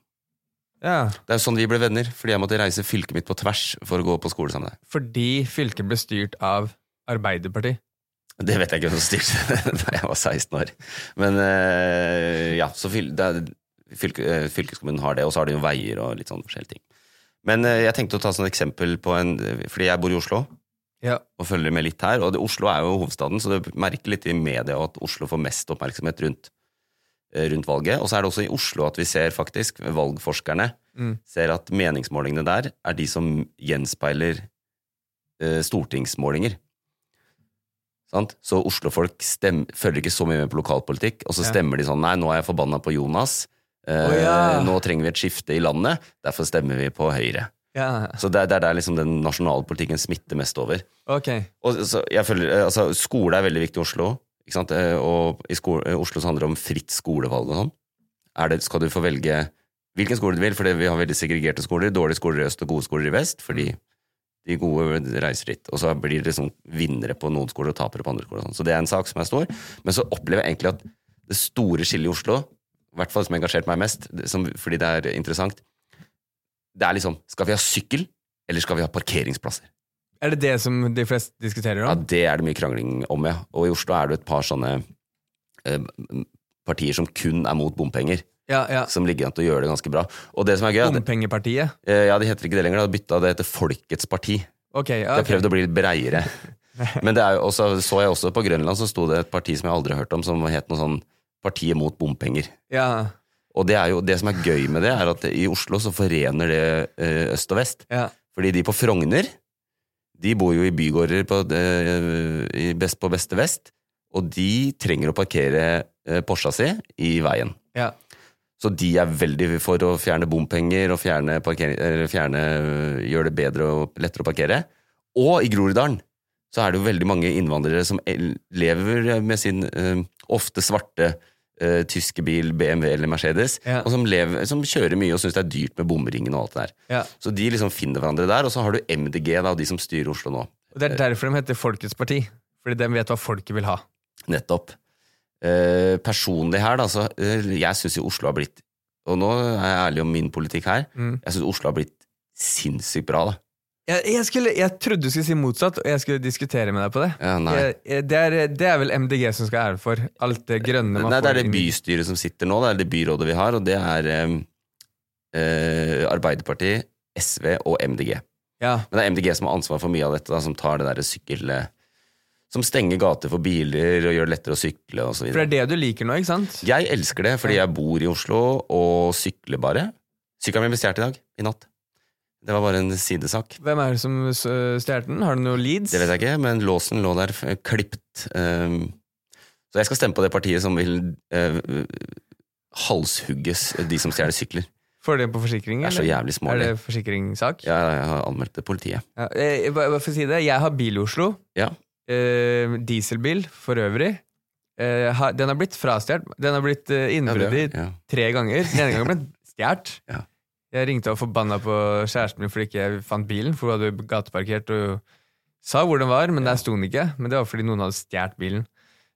[SPEAKER 1] Ja.
[SPEAKER 2] Det er jo sånn vi ble venner, fordi jeg måtte reise fylket mitt på tvers for å gå på skole sammen med deg.
[SPEAKER 1] Fordi fylket ble styrt av Arbeiderpartiet.
[SPEAKER 2] Det vet jeg ikke hvem som styrte da jeg var 16 år. Men eh, ja, så fyl, det er, fylke, eh, fylkeskommunen har det, og så har de jo veier og litt sånn forskjellige ting. Men eh, jeg tenkte å ta sånn eksempel på en Fordi jeg bor i Oslo,
[SPEAKER 1] Ja.
[SPEAKER 2] og følger med litt her. Og det, Oslo er jo hovedstaden, så du merker litt i media at Oslo får mest oppmerksomhet rundt eh, rundt valget. Og så er det også i Oslo at vi ser faktisk, valgforskerne
[SPEAKER 1] Mm.
[SPEAKER 2] ser at meningsmålingene der er de som gjenspeiler eh, stortingsmålinger. Sant? Så Oslo-folk stem- følger ikke så mye med på lokalpolitikk, og så
[SPEAKER 1] Ja.
[SPEAKER 2] stemmer de sånn Nei, nå er jeg forbanna på Jonas. Eh,
[SPEAKER 1] Å, ja.
[SPEAKER 2] Nå trenger vi et skifte i landet, derfor stemmer vi på Høyre.
[SPEAKER 1] Ja,
[SPEAKER 2] Så det, er- det er der liksom den nasjonale politikken smitter mest over.
[SPEAKER 1] ok.
[SPEAKER 2] Og så jeg føler, eh, altså, skole er veldig viktig i Oslo. Ikke sant? Eh, Og i sko- eh, Oslo så handler det om fritt skolevalg og sånn. Er det, skal du få velge hvilken skole du vil, fordi vi har veldig segregerte skoler. Dårlige skoler i øst og gode skoler i vest, fordi de gode reiser dit. Og så blir det liksom vinnere på noen skoler og tapere på andre skoler. Og sånn. så det er en sak som er stor. Men så opplever jeg egentlig at det store skillet i Oslo, i hvert fall som engasjerte meg mest, det- som, fordi det er interessant, det er liksom Skal vi ha sykkel, eller skal vi ha parkeringsplasser?
[SPEAKER 1] Er det det som de fleste diskuterer
[SPEAKER 2] Ja,
[SPEAKER 1] om?
[SPEAKER 2] det er det mye krangling om, ja. Og i Oslo er det et par sånne eh, partier som kun er mot bompenger,
[SPEAKER 1] Ja, ja.
[SPEAKER 2] som ligger an til å gjøre det ganske bra. Og det som er gøy, er at,
[SPEAKER 1] Bompengepartiet?
[SPEAKER 2] eh, ja, det heter ikke det lenger, det har bytta, det heter Folkets parti.
[SPEAKER 1] Ok,
[SPEAKER 2] De
[SPEAKER 1] ja,
[SPEAKER 2] har
[SPEAKER 1] ok.
[SPEAKER 2] prøvd å bli litt breiere. Men det er jo også, så jeg også på Grønland, så sto det et parti som jeg aldri har hørt om, som het noe sånn Partiet mot bompenger.
[SPEAKER 1] Ja,
[SPEAKER 2] Og det, er jo, det som er gøy med det, er at i Oslo så forener det eh, øst og vest.
[SPEAKER 1] ja.
[SPEAKER 2] Fordi de på Frogner, de bor jo i bygårder på, eh, i best, på beste vest, og de trenger å parkere eh, Porscha si i veien.
[SPEAKER 1] ja.
[SPEAKER 2] Så de er veldig for å fjerne bompenger og fjerne parkering- eller fjerne, øh, gjøre det bedre og lettere å parkere. Og i Groruddalen så er det jo veldig mange innvandrere som el- lever med sin øh, ofte svarte øh, tyske bil, BMW eller Mercedes,
[SPEAKER 1] Ja.
[SPEAKER 2] og som, lever, som kjører mye og syns det er dyrt med bomringen og alt det der.
[SPEAKER 1] Ja.
[SPEAKER 2] Så de liksom finner hverandre der, og så har du MDG, da, og de som styrer Oslo nå.
[SPEAKER 1] Og det er derfor de heter Folkets parti. Fordi de vet hva folket vil ha.
[SPEAKER 2] Nettopp. Eh, personlig her, da, så eh, jeg syns jo Oslo har blitt Og nå er jeg ærlig om min politikk her.
[SPEAKER 1] Mm.
[SPEAKER 2] Jeg syns Oslo har blitt sinnssykt bra, da.
[SPEAKER 1] Jeg, jeg, skulle, jeg trodde du skulle si motsatt, og jeg skulle diskutere med deg på det.
[SPEAKER 2] Ja, nei.
[SPEAKER 1] Jeg, jeg, det, er, det er vel MDG som skal ha æren for. Alt det grønne man
[SPEAKER 2] Nei, det
[SPEAKER 1] får
[SPEAKER 2] er det
[SPEAKER 1] inn i-
[SPEAKER 2] bystyret som sitter nå, det er det byrådet vi har, og det er eh, eh, Arbeiderpartiet, SV og MDG.
[SPEAKER 1] Ja,
[SPEAKER 2] Men det er MDG som har ansvar for mye av dette, da, som tar det derre sykkel... eh, Som stenger gater for biler og gjør det lettere å sykle og så
[SPEAKER 1] For
[SPEAKER 2] videre.
[SPEAKER 1] det er det du liker nå, ikke sant?
[SPEAKER 2] Jeg elsker det, fordi jeg bor i Oslo og sykler bare. Sykkelen min ble stjålet i dag. I natt. Det var bare en sidesak.
[SPEAKER 1] Hvem er det som øh, stjal den? Har du noe leads?
[SPEAKER 2] Det vet jeg ikke, men låsen lå der eh, klipt. ehm. Så jeg skal stemme på det partiet som vil eh, halshugges eh, de som stjeler sykler.
[SPEAKER 1] Får du det på forsikring?
[SPEAKER 2] Det er så
[SPEAKER 1] eller?
[SPEAKER 2] jævlig smålig.
[SPEAKER 1] Er det forsikringssak?
[SPEAKER 2] Ja, jeg har anmeldt det til politiet.
[SPEAKER 1] Ja, eh, hva- hva for å si det, jeg har bil i Oslo.
[SPEAKER 2] Ja.
[SPEAKER 1] Eh, dieselbil, for øvrig. Eh, har- den har blitt frastjålet. Den har blitt eh, innbrudd i
[SPEAKER 2] ja.
[SPEAKER 1] tre ganger. Den ene gangen ble den stjålet.
[SPEAKER 2] Ja.
[SPEAKER 1] Jeg ringte og forbanna på kjæresten min fordi ikke jeg fant bilen, for hun hadde gateparkert og sa hvor den var, men der sto den ikke. Men det var fordi noen hadde stjålet bilen.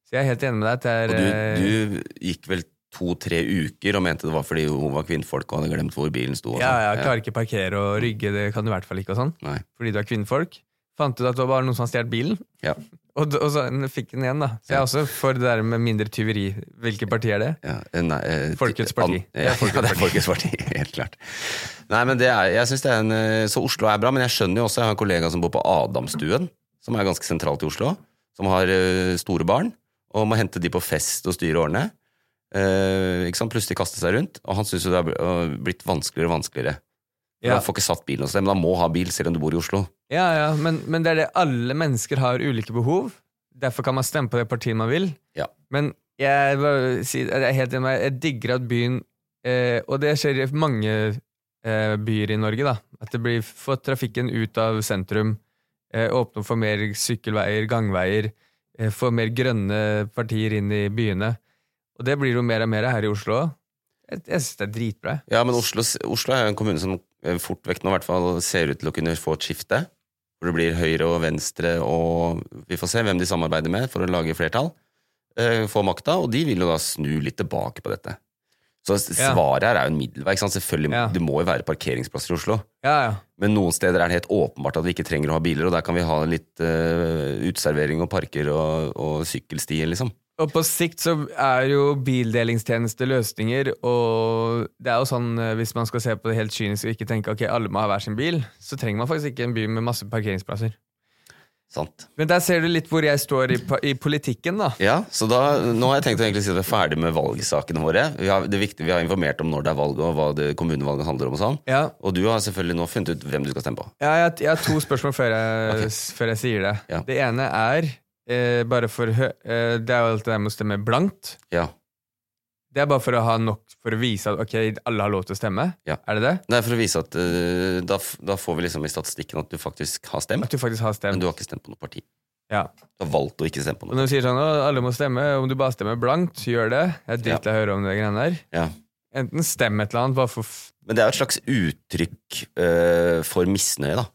[SPEAKER 1] Så jeg er helt enig med deg. at
[SPEAKER 2] Og
[SPEAKER 1] Det er, eh,
[SPEAKER 2] du, du gikk vel to-tre uker og mente det var fordi hun var kvinnfolk og hadde glemt hvor bilen sto. og
[SPEAKER 1] ja,
[SPEAKER 2] sånn.
[SPEAKER 1] ja, klarer ikke parkere og rygge, det kan du i hvert fall ikke. og sånn.
[SPEAKER 2] Nei.
[SPEAKER 1] Fordi du er kvinnfolk. Fant ut at det var bare noen som hadde stjålet bilen.
[SPEAKER 2] Ja.
[SPEAKER 1] Og, d- og så fikk den igjen, da. Så jeg er også for det der med mindre tyveri. Hvilket parti er det?
[SPEAKER 2] Ja, eh, nei, eh,
[SPEAKER 1] Folkets
[SPEAKER 2] an-
[SPEAKER 1] parti.
[SPEAKER 2] Ja, ja, det er Folkets parti, helt klart. Nei, men det er, jeg synes det er en, eh, Så Oslo er bra, men jeg skjønner jo også Jeg har en kollega som bor på Adamstuen, som er ganske sentralt i Oslo, som har eh, store barn, og må hente de på fest og styre årene. Eh, ikke sant? Plutselig kaste seg rundt, og han syns jo det har bl- har blitt vanskeligere og vanskeligere. For
[SPEAKER 1] Ja.
[SPEAKER 2] Han får ikke satt bilen hos dem, men han må ha bil selv om du bor i Oslo.
[SPEAKER 1] Ja, ja, men, men det er det alle mennesker har ulike behov. Derfor kan man stemme på det partiet man vil.
[SPEAKER 2] Ja.
[SPEAKER 1] Men jeg, var- si- jeg er helt enig med deg. Jeg digger at byen eh, Og det skjer i mange eh, byer i Norge, da. At det blir fått trafikken ut av sentrum. Eh, åpne for mer sykkelveier, gangveier. Eh, få mer grønne partier inn i byene. Og det blir jo mer og mer her i Oslo òg. Jeg, jeg syns det er dritbra.
[SPEAKER 2] Ja, men Oslo, Oslo er jo en kommune som eh, fort vekk nå i hvert fall ser ut til å kunne få et skifte. Hvor det blir høyre og venstre, og vi får se hvem de samarbeider med for å lage flertall. eh, Få makta, og de vil jo da snu litt tilbake på dette. Så s-
[SPEAKER 1] Ja.
[SPEAKER 2] svaret her er jo en middelvei. ikke sant? Selvfølgelig,
[SPEAKER 1] Ja.
[SPEAKER 2] Det må jo være parkeringsplasser i Oslo.
[SPEAKER 1] Ja, ja.
[SPEAKER 2] Men noen steder er det helt åpenbart at vi ikke trenger å ha biler, og der kan vi ha litt eh, uteservering og parker og, og sykkelstier, liksom.
[SPEAKER 1] Og på sikt så er jo bildelingstjeneste løsninger, og det er jo sånn eh, hvis man skal se på det helt kynisk og ikke tenke ok, alle må ha hver sin bil, så trenger man faktisk ikke en by med masse parkeringsplasser.
[SPEAKER 2] Sant.
[SPEAKER 1] Men der ser du litt hvor jeg står i, pa- i politikken, da.
[SPEAKER 2] Ja, så da, Nå har jeg tenkt å egentlig si at vi er ferdig med valgsakene våre. Vi har, det er viktig, vi har informert om når det er valg, og hva det kommunevalget handler om. Og sånn.
[SPEAKER 1] Ja.
[SPEAKER 2] Og du har selvfølgelig nå funnet ut hvem du skal stemme på.
[SPEAKER 1] Ja, jeg, jeg har to spørsmål før jeg, s- før jeg sier det.
[SPEAKER 2] Ja.
[SPEAKER 1] Det ene er eh, bare for hø eh, Det er jo alt det der med å stemme blankt.
[SPEAKER 2] Ja.
[SPEAKER 1] Det er bare for å ha nok for å vise at ok, alle har lov til å stemme.
[SPEAKER 2] Ja.
[SPEAKER 1] Er det det?
[SPEAKER 2] Det er for å vise at eh, da, f- da får vi liksom i statistikken at du faktisk har stemt,
[SPEAKER 1] At du faktisk har
[SPEAKER 2] men
[SPEAKER 1] stemt.
[SPEAKER 2] du har ikke stemt på noe parti.
[SPEAKER 1] Ja.
[SPEAKER 2] Du har valgt å ikke stemme på
[SPEAKER 1] Og
[SPEAKER 2] noe.
[SPEAKER 1] når du sier sånn at alle må stemme, om du bare stemmer blankt, gjør det. Jeg er dritlei av å høre om det greiene der.
[SPEAKER 2] Ja.
[SPEAKER 1] Enten stem et eller annet, bare for f-
[SPEAKER 2] Men det er jo et slags uttrykk eh, for misnøye, da.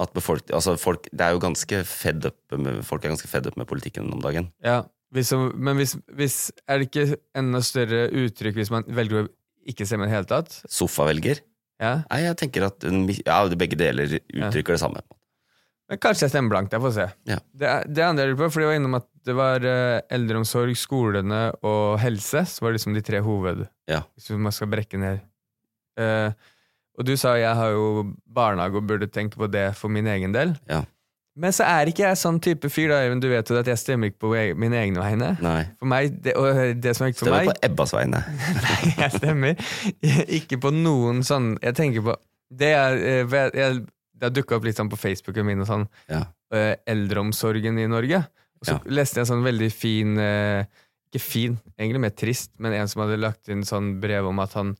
[SPEAKER 2] At befolk, altså folk, det er jo ganske fed up med, folk er ganske fed up med politikken om dagen.
[SPEAKER 1] Ja. Hvis, men hvis, hvis Er det ikke enda større uttrykk hvis man velger å ikke stemme i det hele tatt?
[SPEAKER 2] Sofavelger?
[SPEAKER 1] Ja.
[SPEAKER 2] Nei, jeg tenker at en, mi- ja, begge deler uttrykker det samme.
[SPEAKER 1] Men kanskje jeg stemmer blankt. Jeg får se.
[SPEAKER 2] Ja.
[SPEAKER 1] Det, er- det andre jeg lurer på, for de var innom at det var eh, eldreomsorg, skolene og helse som var liksom de tre hoved...
[SPEAKER 2] Ja.
[SPEAKER 1] Hvis man skal brekke ned. Eh, og du sa jeg har jo barnehage og burde tenke på det for min egen del.
[SPEAKER 2] Ja.
[SPEAKER 1] Men så er ikke jeg sånn type fyr, da, Even. Du vet jo det at jeg stemmer ikke på e- mine egne vegne.
[SPEAKER 2] Nei.
[SPEAKER 1] For meg, det, og det som er ikke for
[SPEAKER 2] Stemmer
[SPEAKER 1] meg
[SPEAKER 2] på Ebbas vegne.
[SPEAKER 1] Nei, jeg stemmer ikke på noen sånn Jeg tenker på Det, er, eh, vet- jeg, det har dukka opp litt sånn på Facebooken min og sånn
[SPEAKER 2] Ja.
[SPEAKER 1] eh, eldreomsorgen i Norge. Og så
[SPEAKER 2] Ja.
[SPEAKER 1] leste jeg en sånn veldig fin eh, Ikke fin, egentlig mer trist, men en som hadde lagt inn sånn brev om at han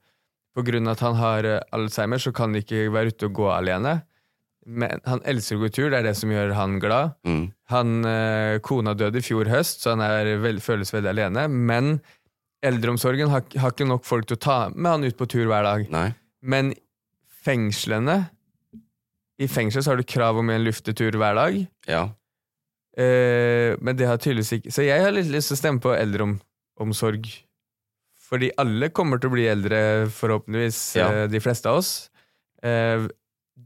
[SPEAKER 1] på grunn av at han har eh, Alzheimer, så kan han ikke være ute og gå alene. Men han elsker å gå tur, det er det som gjør han glad.
[SPEAKER 2] Mm.
[SPEAKER 1] Han, eh, kona døde i fjor høst, så han er vel, føles veldig alene. Men eldreomsorgen har, har ikke nok folk til å ta med han ut på tur hver dag.
[SPEAKER 2] Nei.
[SPEAKER 1] Men fengslene I fengsel så har du krav om en luftetur hver dag.
[SPEAKER 2] Ja.
[SPEAKER 1] Eh, men det har tydeligvis ikke Så jeg har litt lyst til å stemme på eldreomsorg. Fordi alle kommer til å bli eldre, forhåpentligvis,
[SPEAKER 2] Ja.
[SPEAKER 1] eh, de fleste av oss. Eh,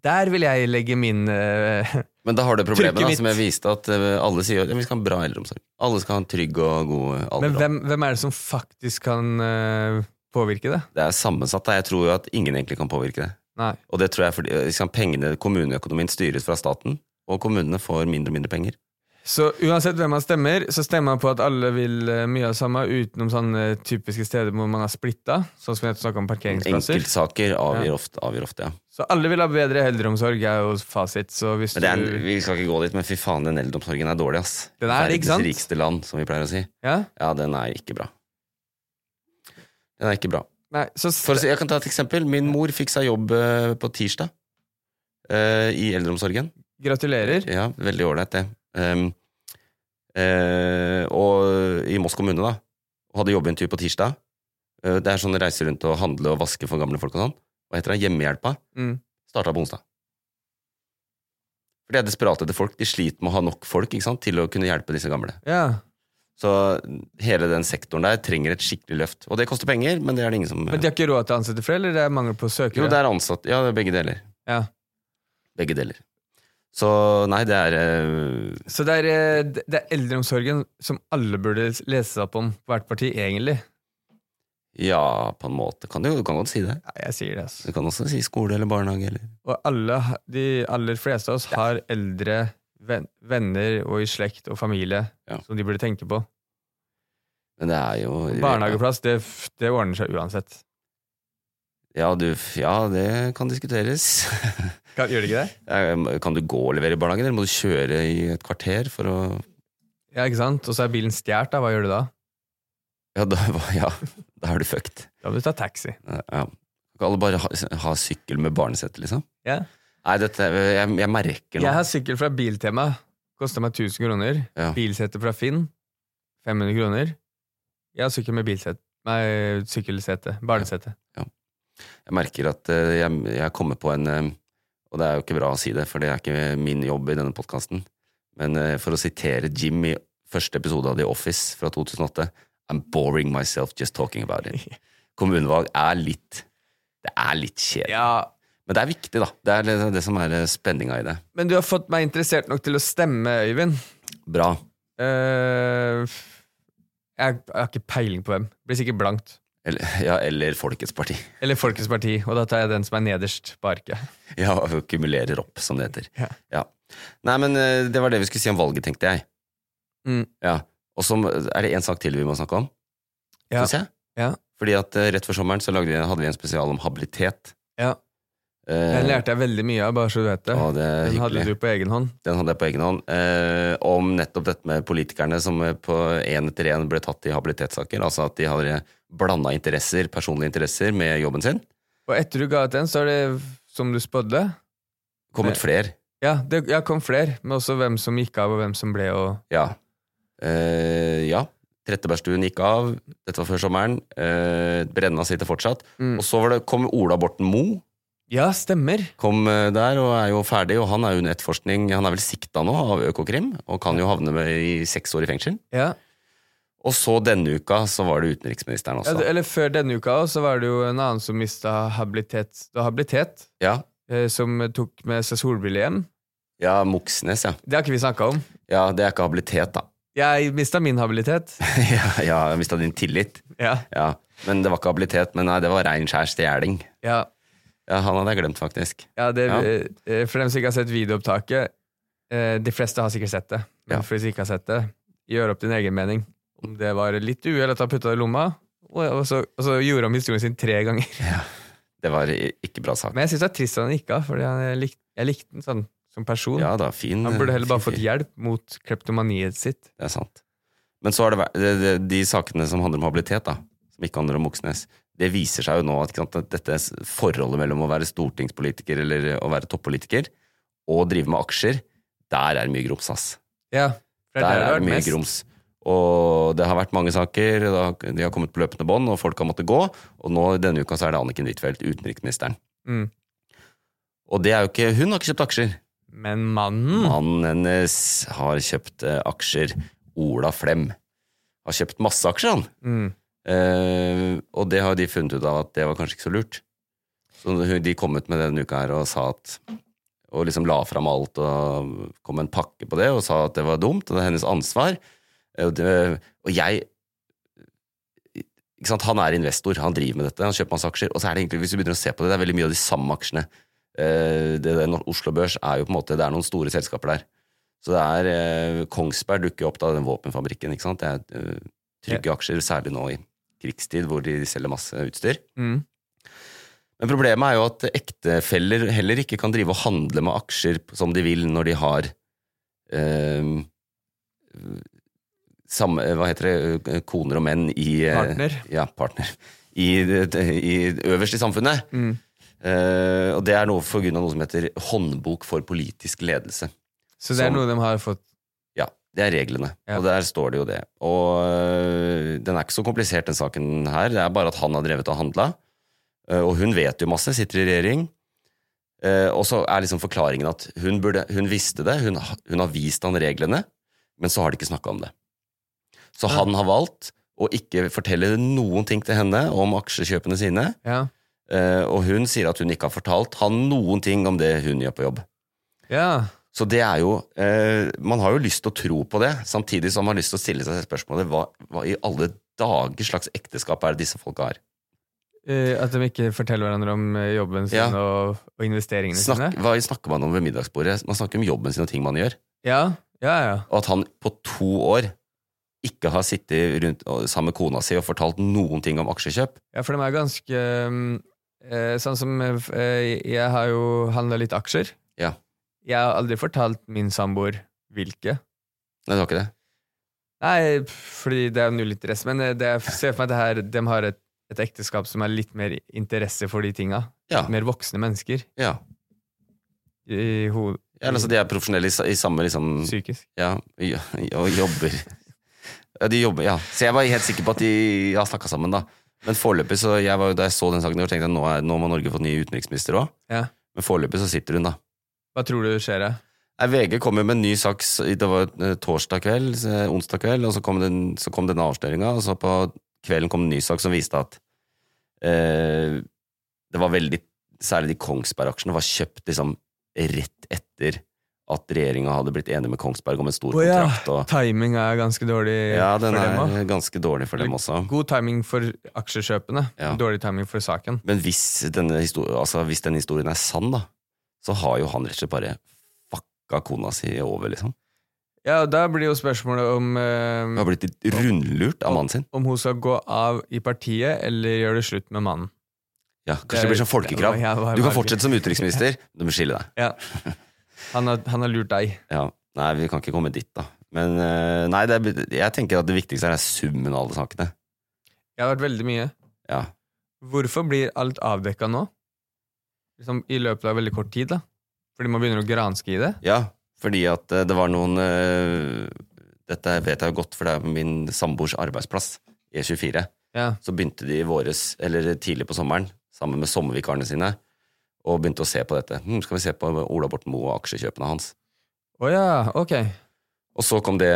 [SPEAKER 1] der vil jeg legge min eh,
[SPEAKER 2] Men da har du problemet
[SPEAKER 1] Trykket
[SPEAKER 2] da,
[SPEAKER 1] mitt.
[SPEAKER 2] som jeg viste, at eh, alle sier at vi skal ha en bra eldreomsorg. Alle skal ha en trygg og god eh, alder.
[SPEAKER 1] Men hvem, hvem er det som faktisk kan eh, påvirke det?
[SPEAKER 2] Det er sammensatt. Da. Jeg tror jo at ingen egentlig kan påvirke det.
[SPEAKER 1] Nei.
[SPEAKER 2] Og det tror jeg er fordi eh, liksom, pengene, kommuneøkonomien styres fra staten, og kommunene får mindre og mindre penger.
[SPEAKER 1] Så uansett hvem man stemmer, så stemmer man på at alle vil eh, mye av det samme, utenom sånne typiske steder hvor man har splitta, sånn som vi snakka om parkeringsplasser.
[SPEAKER 2] Enkeltsaker avgjør,
[SPEAKER 1] Ja.
[SPEAKER 2] ofte, avgjør ofte, ja.
[SPEAKER 1] Så alle vil ha bedre eldreomsorg, er jo fasit. Så hvis
[SPEAKER 2] Men det er, en-
[SPEAKER 1] du
[SPEAKER 2] vi skal ikke gå dit, men fy faen, den eldreomsorgen er dårlig, ass.
[SPEAKER 1] Den er det, ikke sant?
[SPEAKER 2] Verdens rikeste land, som vi pleier å si.
[SPEAKER 1] ja?
[SPEAKER 2] Ja, den er ikke bra. Den er ikke bra.
[SPEAKER 1] Nei, så st-
[SPEAKER 2] For, å si- jeg kan ta et eksempel. Min mor fikk seg jobb eh, på tirsdag eh, i eldreomsorgen.
[SPEAKER 1] gratulerer.
[SPEAKER 2] Ja, veldig ålreit, det. Ehm, eh, og i Moss kommune, da. Og Hadde jobbintervju på tirsdag. Eh, det er sånn reiser rundt og handle og vaske for gamle folk og sånn. Hva heter det? Hjemmehjelpa.
[SPEAKER 1] Mm.
[SPEAKER 2] Starta på onsdag. For de er desperate etter folk. De sliter med å ha nok folk ikke sant, til å kunne hjelpe disse gamle.
[SPEAKER 1] Ja.
[SPEAKER 2] Så hele den sektoren der trenger et skikkelig løft. Og det koster penger, men det er det ingen som
[SPEAKER 1] Men de har ikke råd til å ansette flere, eller det er mangel på søkere?
[SPEAKER 2] Jo, det er ansatt. Ja, det er begge deler.
[SPEAKER 1] ja.
[SPEAKER 2] Begge deler. Så nei, det er eh,
[SPEAKER 1] Så det er, eh, det det er eldreomsorgen som alle burde lese seg opp om, hvert parti, egentlig.
[SPEAKER 2] Ja, på en måte. Kan du, du kan godt si det.
[SPEAKER 1] Ja, jeg sier det, altså.
[SPEAKER 2] Du kan også si skole eller barnehage eller
[SPEAKER 1] Og alle, ha- de aller fleste av oss har eldre ven- venner og i slekt og familie
[SPEAKER 2] Ja.
[SPEAKER 1] som de burde tenke på.
[SPEAKER 2] Men det er jo
[SPEAKER 1] Barnehageplass, det, f- det ordner seg uansett.
[SPEAKER 2] Ja, du, ja det kan diskuteres.
[SPEAKER 1] Kan, gjør det ikke det?
[SPEAKER 2] Eh, kan du gå og levere i barnehagen, eller må du kjøre i et kvarter for å
[SPEAKER 1] Ja, ikke sant? Og så er bilen stjålet, da. Hva gjør du da?
[SPEAKER 2] Ja, da, ja, da er du fucked. Eh,
[SPEAKER 1] Da må du ta taxi.
[SPEAKER 2] Ja. Kan ikke alle bare ha, ha sykkel med barnesett, liksom?
[SPEAKER 1] Ja.
[SPEAKER 2] Nei, dette Jeg, jeg merker
[SPEAKER 1] Jeg
[SPEAKER 2] noe.
[SPEAKER 1] har sykkel fra Biltema. Kosta meg 1000 kroner.
[SPEAKER 2] Ja.
[SPEAKER 1] Bilsette fra Finn. 500 kroner. Jeg har sykkel med bilsett. Nei, sykkelsete. Barnesete.
[SPEAKER 2] Jeg merker at eh, jeg, jeg kommer på en eh, Og det er jo ikke bra å si det, for det er ikke min jobb i denne podkasten. Men eh, for å sitere Jim i første episode av The Office fra 2008 I'm boring myself just talking about it. Kommunevalg er litt Det er litt kjedelig.
[SPEAKER 1] Ja,
[SPEAKER 2] Men det er viktig, da. Det er det, det som er eh, spenninga i det.
[SPEAKER 1] men du har fått meg interessert nok til å stemme, Øyvind.
[SPEAKER 2] Bra.
[SPEAKER 1] Eh, jeg, jeg har ikke peiling på hvem. Det blir sikkert blankt.
[SPEAKER 2] Eller, ja, eller Folkets parti.
[SPEAKER 1] Eller Folkets Parti, og da tar jeg den som er nederst på arket.
[SPEAKER 2] Ja, og kumulerer opp, som det heter.
[SPEAKER 1] Ja.
[SPEAKER 2] Ja. Nei, men eh, det var det vi skulle si om valget, tenkte jeg.
[SPEAKER 1] Mm.
[SPEAKER 2] Ja. Og så er det en sak til vi må snakke om.
[SPEAKER 1] Ja.
[SPEAKER 2] Synes jeg.
[SPEAKER 1] Ja.
[SPEAKER 2] Fordi at eh, rett før sommeren så lagde vi, hadde vi en spesial om habilitet.
[SPEAKER 1] Ja.
[SPEAKER 2] Eh,
[SPEAKER 1] Den lærte jeg veldig mye av, bare så du vet det.
[SPEAKER 2] å, det er
[SPEAKER 1] Den hadde
[SPEAKER 2] hyggelig.
[SPEAKER 1] du på egen hånd.
[SPEAKER 2] Den hadde jeg på egen hånd. Eh, om nettopp dette med politikerne som eh, på én etter én ble tatt i habilitetssaker. Altså at de hadde blanda interesser, personlige interesser, med jobben sin.
[SPEAKER 1] Og etter du ga ut den, så er det som du spådde.
[SPEAKER 2] Kommet flere.
[SPEAKER 1] Ja, det ja, kom flere, men også hvem som gikk av, og hvem som ble, og
[SPEAKER 2] Ja. Eh, ja. Trettebergstuen gikk av. Dette var før sommeren. Eh, Brenna sitter fortsatt.
[SPEAKER 1] Mm.
[SPEAKER 2] Og så var det, kom Ola Borten Moe.
[SPEAKER 1] Ja, stemmer.
[SPEAKER 2] Kom eh, der og er jo ferdig, og han er jo under etterforskning. Han er vel sikta nå av Økokrim, og kan jo havne med i seks år i fengsel.
[SPEAKER 1] Ja.
[SPEAKER 2] Og så denne uka så var det utenriksministeren
[SPEAKER 1] Ja, det-
[SPEAKER 2] også.
[SPEAKER 1] eller før denne uka også, så var det jo en annen som mista habilitet, det var habilitet
[SPEAKER 2] Ja,
[SPEAKER 1] eh, som tok med seg solbriller hjem.
[SPEAKER 2] ja Moxnes, ja.
[SPEAKER 1] Det har ikke vi snakka om.
[SPEAKER 2] Ja, det er ikke habilitet, da.
[SPEAKER 1] Jeg mista min habilitet.
[SPEAKER 2] ja, ja, jeg mista din tillit.
[SPEAKER 1] Ja,
[SPEAKER 2] Ja, Men det var ikke habilitet, men nei, det var rein skjær stjeling.
[SPEAKER 1] ja,
[SPEAKER 2] Ja, han hadde jeg glemt, faktisk.
[SPEAKER 1] ja, det,
[SPEAKER 2] Ja.
[SPEAKER 1] eh, For dem som ikke har sett videoopptaket eh, De fleste har sikkert sett det. Men
[SPEAKER 2] Ja.
[SPEAKER 1] for de som ikke har sett det, gjør opp din egen mening. Om det var litt uhell at han putta det i lomma, og, og, så, og så gjorde han historien sin tre ganger.
[SPEAKER 2] Det var i- ikke bra sak.
[SPEAKER 1] Men jeg syns det er trist at han gikk av, for jeg likte, jeg likte den sånn som person.
[SPEAKER 2] Ja da, fin
[SPEAKER 1] Han burde heller bare
[SPEAKER 2] fin
[SPEAKER 1] fått
[SPEAKER 2] fyr.
[SPEAKER 1] hjelp mot kleptomaniet sitt.
[SPEAKER 2] Det er sant. Men så har det vært de, de, de sakene som handler om habilitet, da, som ikke handler om Moxnes, det viser seg jo nå at, ikke sant, at dette s- forholdet mellom å være stortingspolitiker eller å være toppolitiker og drive med aksjer, der er det mye grums, ass.
[SPEAKER 1] Ja, for
[SPEAKER 2] Der er
[SPEAKER 1] vært
[SPEAKER 2] det mye
[SPEAKER 1] mest.
[SPEAKER 2] grums. Og det har vært mange saker, det har- de har kommet på løpende bånd, og folk har måttet gå. Og nå denne uka så er det Anniken Huitfeldt, utenriksministeren.
[SPEAKER 1] Mm.
[SPEAKER 2] Og det er jo ikke Hun har ikke kjøpt aksjer.
[SPEAKER 1] Men mannen
[SPEAKER 2] Mannen hennes har kjøpt eh, aksjer. Ola Flem har kjøpt masse aksjer, han.
[SPEAKER 1] mm.
[SPEAKER 2] Eh, og det har jo de funnet ut av at det var kanskje ikke så lurt. Så hun- de kom ut med denne uka her og sa at Og liksom la fram alt og kom med en pakke på det og sa at det var dumt, og det er hennes ansvar. Eh, Og, det, og jeg ikke sant? Han er investor, han driver med dette, han kjøper masse aksjer. Og så er det egentlig, hvis du begynner å se på det, det er veldig mye av de samme aksjene. Eh, det, det, Oslo Børs er jo på en måte Det er noen store selskaper der. Så det er eh, Kongsberg dukker jo opp da, den våpenfabrikken. ikke sant? Det er eh, trygge aksjer, særlig nå i krigstid, hvor de selger masse utstyr.
[SPEAKER 1] Mm.
[SPEAKER 2] Men problemet er jo at ektefeller heller ikke kan drive og handle med aksjer som de vil når de har eh, samme, eh, hva heter det, koner og menn i eh,
[SPEAKER 1] Partner.
[SPEAKER 2] Ja, partner. I, det- i, øverst i samfunnet.
[SPEAKER 1] Mm.
[SPEAKER 2] Eh, og det er noe for grunn av noe som heter Håndbok for politisk ledelse.
[SPEAKER 1] Så det er
[SPEAKER 2] Som-
[SPEAKER 1] noe de har fått
[SPEAKER 2] Ja, det er reglene,
[SPEAKER 1] Ja.
[SPEAKER 2] og der står det jo det. Og øh, den er ikke så komplisert, den saken her. Det er bare at han har drevet og handla, øh, og hun vet jo masse, sitter i regjering. Eh, Og så er liksom forklaringen at hun, burde, hun visste det, hun, ha- hun har vist han reglene, men så har de ikke snakka om det. Så
[SPEAKER 1] Ja.
[SPEAKER 2] han har valgt å ikke fortelle noen ting til henne om aksjekjøpene sine,
[SPEAKER 1] Ja,
[SPEAKER 2] eh, og hun sier at hun ikke har fortalt han noen ting om det hun gjør på jobb.
[SPEAKER 1] ja.
[SPEAKER 2] Så det er jo eh, Man har jo lyst til å tro på det, samtidig som man har lyst til å stille seg spørsmålet hva, hva i alle dager slags ekteskap er det disse folka har?
[SPEAKER 1] Eh, At de ikke forteller hverandre om eh, jobben sin
[SPEAKER 2] Ja.
[SPEAKER 1] og, og investeringene
[SPEAKER 2] Snakk,
[SPEAKER 1] sine.
[SPEAKER 2] hva snakker man om ved middagsbordet? Man snakker om jobben sin og ting man gjør.
[SPEAKER 1] Ja, ja, ja.
[SPEAKER 2] Og at han på to år ikke har sittet rundt og- sammen med kona si og fortalt noen ting om aksjekjøp.
[SPEAKER 1] ja for de er ganske mm, eh, Sånn som eh, f- eh, jeg har jo handla litt aksjer.
[SPEAKER 2] Ja.
[SPEAKER 1] Jeg har aldri fortalt min samboer hvilke.
[SPEAKER 2] Nei, det var ikke det.
[SPEAKER 1] Nei, pff, fordi det er jo null interesse. Men eh, det, jeg ser for meg at det her, de har et, et ekteskap som er litt mer interesse for de tinga.
[SPEAKER 2] Ja.
[SPEAKER 1] Mer voksne mennesker
[SPEAKER 2] ja.
[SPEAKER 1] i hodet.
[SPEAKER 2] ja altså, de er profesjonelle i, sa- i samme liksom
[SPEAKER 1] Psykisk.
[SPEAKER 2] Ja, jo- og jobber. Ja, de jobber, ja. Så jeg var helt sikker på at de har snakka sammen, da. Men foreløpig, så jeg var, jo- da jeg så den saken, i år, tenkte jeg nå, er, nå må Norge få ny utenriksminister òg.
[SPEAKER 1] Ja.
[SPEAKER 2] Men foreløpig så sitter hun, da.
[SPEAKER 1] Hva tror du skjer? da?
[SPEAKER 2] Nei, VG kom jo med en ny sak s- det var jo, eh, torsdag kveld, s- eh, onsdag kveld, og så kom, den, så kom denne avsløringa, og så på kvelden kom en ny sak som viste at eh, det var veldig Særlig de Kongsberg-aksjene var kjøpt liksom rett etter at regjeringa hadde blitt enig med Kongsberg om en stor
[SPEAKER 1] Å ja,
[SPEAKER 2] kontrakt. Og,
[SPEAKER 1] Timing er ganske dårlig
[SPEAKER 2] Ja, den
[SPEAKER 1] for
[SPEAKER 2] er
[SPEAKER 1] dem òg.
[SPEAKER 2] ganske dårlig for dem også.
[SPEAKER 1] God timing for aksjekjøpene,
[SPEAKER 2] Ja.
[SPEAKER 1] dårlig timing for saken.
[SPEAKER 2] Men hvis denne, histor- altså, hvis denne historien er sann, da, så har jo han rett og slett bare tråkka kona si over, liksom.
[SPEAKER 1] Ja, da blir jo spørsmålet om
[SPEAKER 2] Hun
[SPEAKER 1] eh,
[SPEAKER 2] har blitt rundlurt av mannen sin.
[SPEAKER 1] om hun skal gå av i partiet eller gjøre det slutt med mannen.
[SPEAKER 2] Ja, Kanskje det blir sånn folkekrav.
[SPEAKER 1] Ja, jeg var
[SPEAKER 2] Du kan
[SPEAKER 1] bare-
[SPEAKER 2] fortsette som utenriksminister, du må skille deg.
[SPEAKER 1] Ja. Han har, han har lurt deg.
[SPEAKER 2] Ja, Nei, vi kan ikke komme dit, da. Men eh, nei, det er, jeg tenker at det viktigste er summen av alle sakene.
[SPEAKER 1] Jeg har vært veldig mye.
[SPEAKER 2] Ja,
[SPEAKER 1] Hvorfor blir alt avdekka nå? Liksom I løpet av veldig kort tid, da. Fordi man begynner å granske i det.
[SPEAKER 2] ja fordi at eh, det var noen eh, Dette vet jeg jo godt, for det er min samboers arbeidsplass, E24.
[SPEAKER 1] Ja.
[SPEAKER 2] Så begynte de i våres, eller tidlig på sommeren, sammen med sommervikarene sine, og begynte å se på dette. Hm, skal vi se på Ola Borten Moe og aksjekjøpene hans?
[SPEAKER 1] Å ja, ok.
[SPEAKER 2] Og så kom det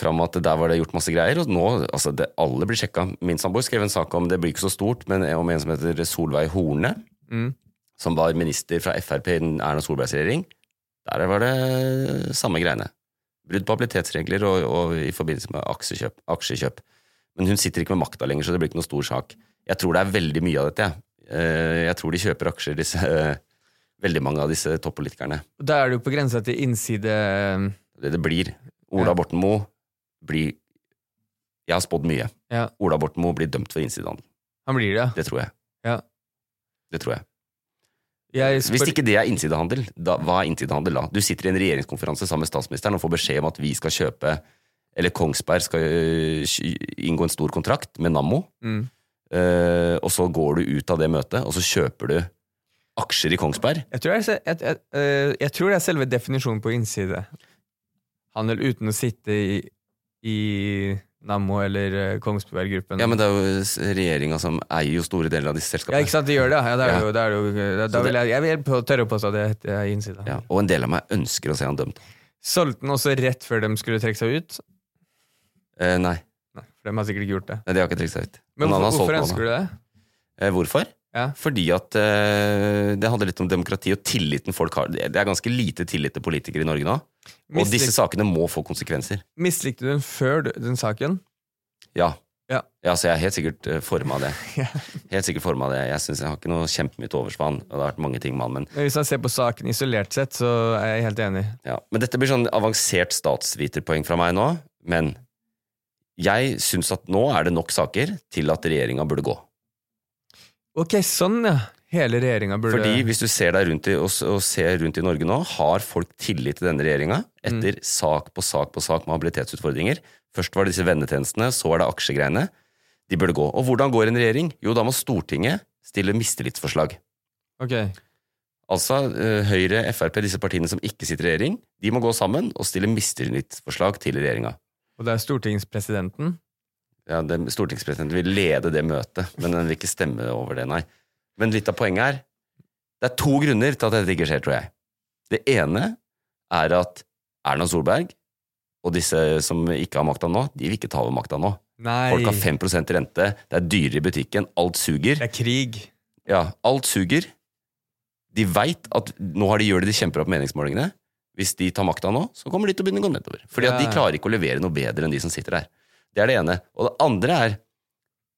[SPEAKER 2] fram at der var det gjort masse greier, og nå, altså det, alle blir sjekka. Min samboer skrev en sak om, det blir ikke så stort, men om en som heter Solveig Horne,
[SPEAKER 1] Mm.
[SPEAKER 2] som var minister fra Frp i den Erna Solbergs regjering. Der var det samme greiene. Brudd på habilitetsregler og, og i forbindelse med aksjekjøp, aksjekjøp. Men hun sitter ikke med makta lenger, så det blir ikke noe stor sak. Jeg tror det er veldig mye av dette, jeg. Eh, Jeg tror de kjøper aksjer, disse, eh, veldig mange av disse toppolitikerne.
[SPEAKER 1] Da er det jo på grensa til innside eh,
[SPEAKER 2] det det blir. Ola
[SPEAKER 1] Ja.
[SPEAKER 2] Borten Moe blir Jeg har spådd mye.
[SPEAKER 1] Ja,
[SPEAKER 2] Ola Borten Moe blir dømt for innsidehandel.
[SPEAKER 1] han blir det,
[SPEAKER 2] Det tror jeg.
[SPEAKER 1] ja.
[SPEAKER 2] Det tror jeg.
[SPEAKER 1] Jeg
[SPEAKER 2] Hvis
[SPEAKER 1] spør,
[SPEAKER 2] ikke det er innsidehandel, da, hva er innsidehandel da? Du sitter i en regjeringskonferanse sammen med statsministeren og får beskjed om at vi skal kjøpe eller Kongsberg skal øh, kj- inngå en stor kontrakt med Nammo,
[SPEAKER 1] Mm.
[SPEAKER 2] øh, og så går du ut av det møtet, og så kjøper du aksjer i Kongsberg.
[SPEAKER 1] jeg, tror det er, se- jeg, jeg, eh, jeg tror det er selve definisjonen på innside. Handel uten å sitte i, i Nammo eller eh, Kongsberg-gruppen.
[SPEAKER 2] Ja, men det er jo s- regjeringa som eier jo store deler av disse
[SPEAKER 1] Ja,
[SPEAKER 2] selskapene.
[SPEAKER 1] ikke sant, det gjør det. ja. Ja, det er
[SPEAKER 2] Ja.
[SPEAKER 1] jo, det er jo, eh, da, da
[SPEAKER 2] Så det-
[SPEAKER 1] vil jeg, jeg vil på- tørre å påstå at det heter- er innside.
[SPEAKER 2] Ja, og en del av meg ønsker å se han dømt.
[SPEAKER 1] Solgte den også rett før de skulle trekke seg ut?
[SPEAKER 2] Eh, nei,
[SPEAKER 1] Nei, for de har sikkert ikke gjort det.
[SPEAKER 2] Nei, det har ikke trukket seg ut.
[SPEAKER 1] Men
[SPEAKER 2] Noen annen
[SPEAKER 1] hvorfor,
[SPEAKER 2] har solgt
[SPEAKER 1] hvorfor
[SPEAKER 2] noen,
[SPEAKER 1] ønsker du det?
[SPEAKER 2] da. Eh, hvorfor?
[SPEAKER 1] Ja.
[SPEAKER 2] Fordi at eh, det handler litt om demokrati og tilliten folk har. Det er ganske lite tillit til politikere i Norge nå. Og
[SPEAKER 1] Mislik-
[SPEAKER 2] disse sakene må få konsekvenser.
[SPEAKER 1] Mislikte du den før du- den saken?
[SPEAKER 2] Ja.
[SPEAKER 1] Ja.
[SPEAKER 2] så jeg er helt sikkert eh, forma av det.
[SPEAKER 1] Ja.
[SPEAKER 2] Helt sikkert forma av det. Jeg synes jeg har ikke noe kjempemye til overs for han. Og det har vært mange ting med han, men
[SPEAKER 1] Men hvis man ser på saken isolert sett, så er jeg helt enig.
[SPEAKER 2] Ja, men dette blir sånn avansert statsviterpoeng fra meg nå, men jeg syns at nå er det nok saker til at regjeringa burde gå.
[SPEAKER 1] Ok, sånn ja. Hele regjeringa burde
[SPEAKER 2] Fordi hvis du ser deg rundt i, og, s- og ser rundt i Norge nå, har folk tillit til denne regjeringa etter sak på sak på sak med habilitetsutfordringer. Først var det disse vennetjenestene, så er det aksjegreiene. De burde gå. Og hvordan går en regjering? Jo, da må Stortinget stille mistillitsforslag.
[SPEAKER 1] Ok.
[SPEAKER 2] Altså eh, Høyre, Frp, disse partiene som ikke sitter i regjering, de må gå sammen og stille mistillitsforslag til regjeringa.
[SPEAKER 1] Og det er stortingspresidenten?
[SPEAKER 2] Ja, den- Stortingspresidenten vil lede det møtet, men den vil ikke stemme over det, nei. Men litt av poenget er Det er to grunner til at dette ikke skjer, tror jeg. Det ene er at Erna Solberg og disse som ikke har makta nå, de vil ikke ta over makta nå.
[SPEAKER 1] Nei,
[SPEAKER 2] Folk har 5 rente, det er dyrere i butikken, alt
[SPEAKER 1] det
[SPEAKER 2] suger.
[SPEAKER 1] er krig.
[SPEAKER 2] Ja, alt suger. De veit at nå har de gjør det de kjemper opp meningsmålingene. Hvis de tar makta nå, så kommer de til å begynne å gå nedover. Fordi at de
[SPEAKER 1] Ja.
[SPEAKER 2] klarer ikke å levere noe bedre enn de som sitter der. Det er det ene. Og det andre er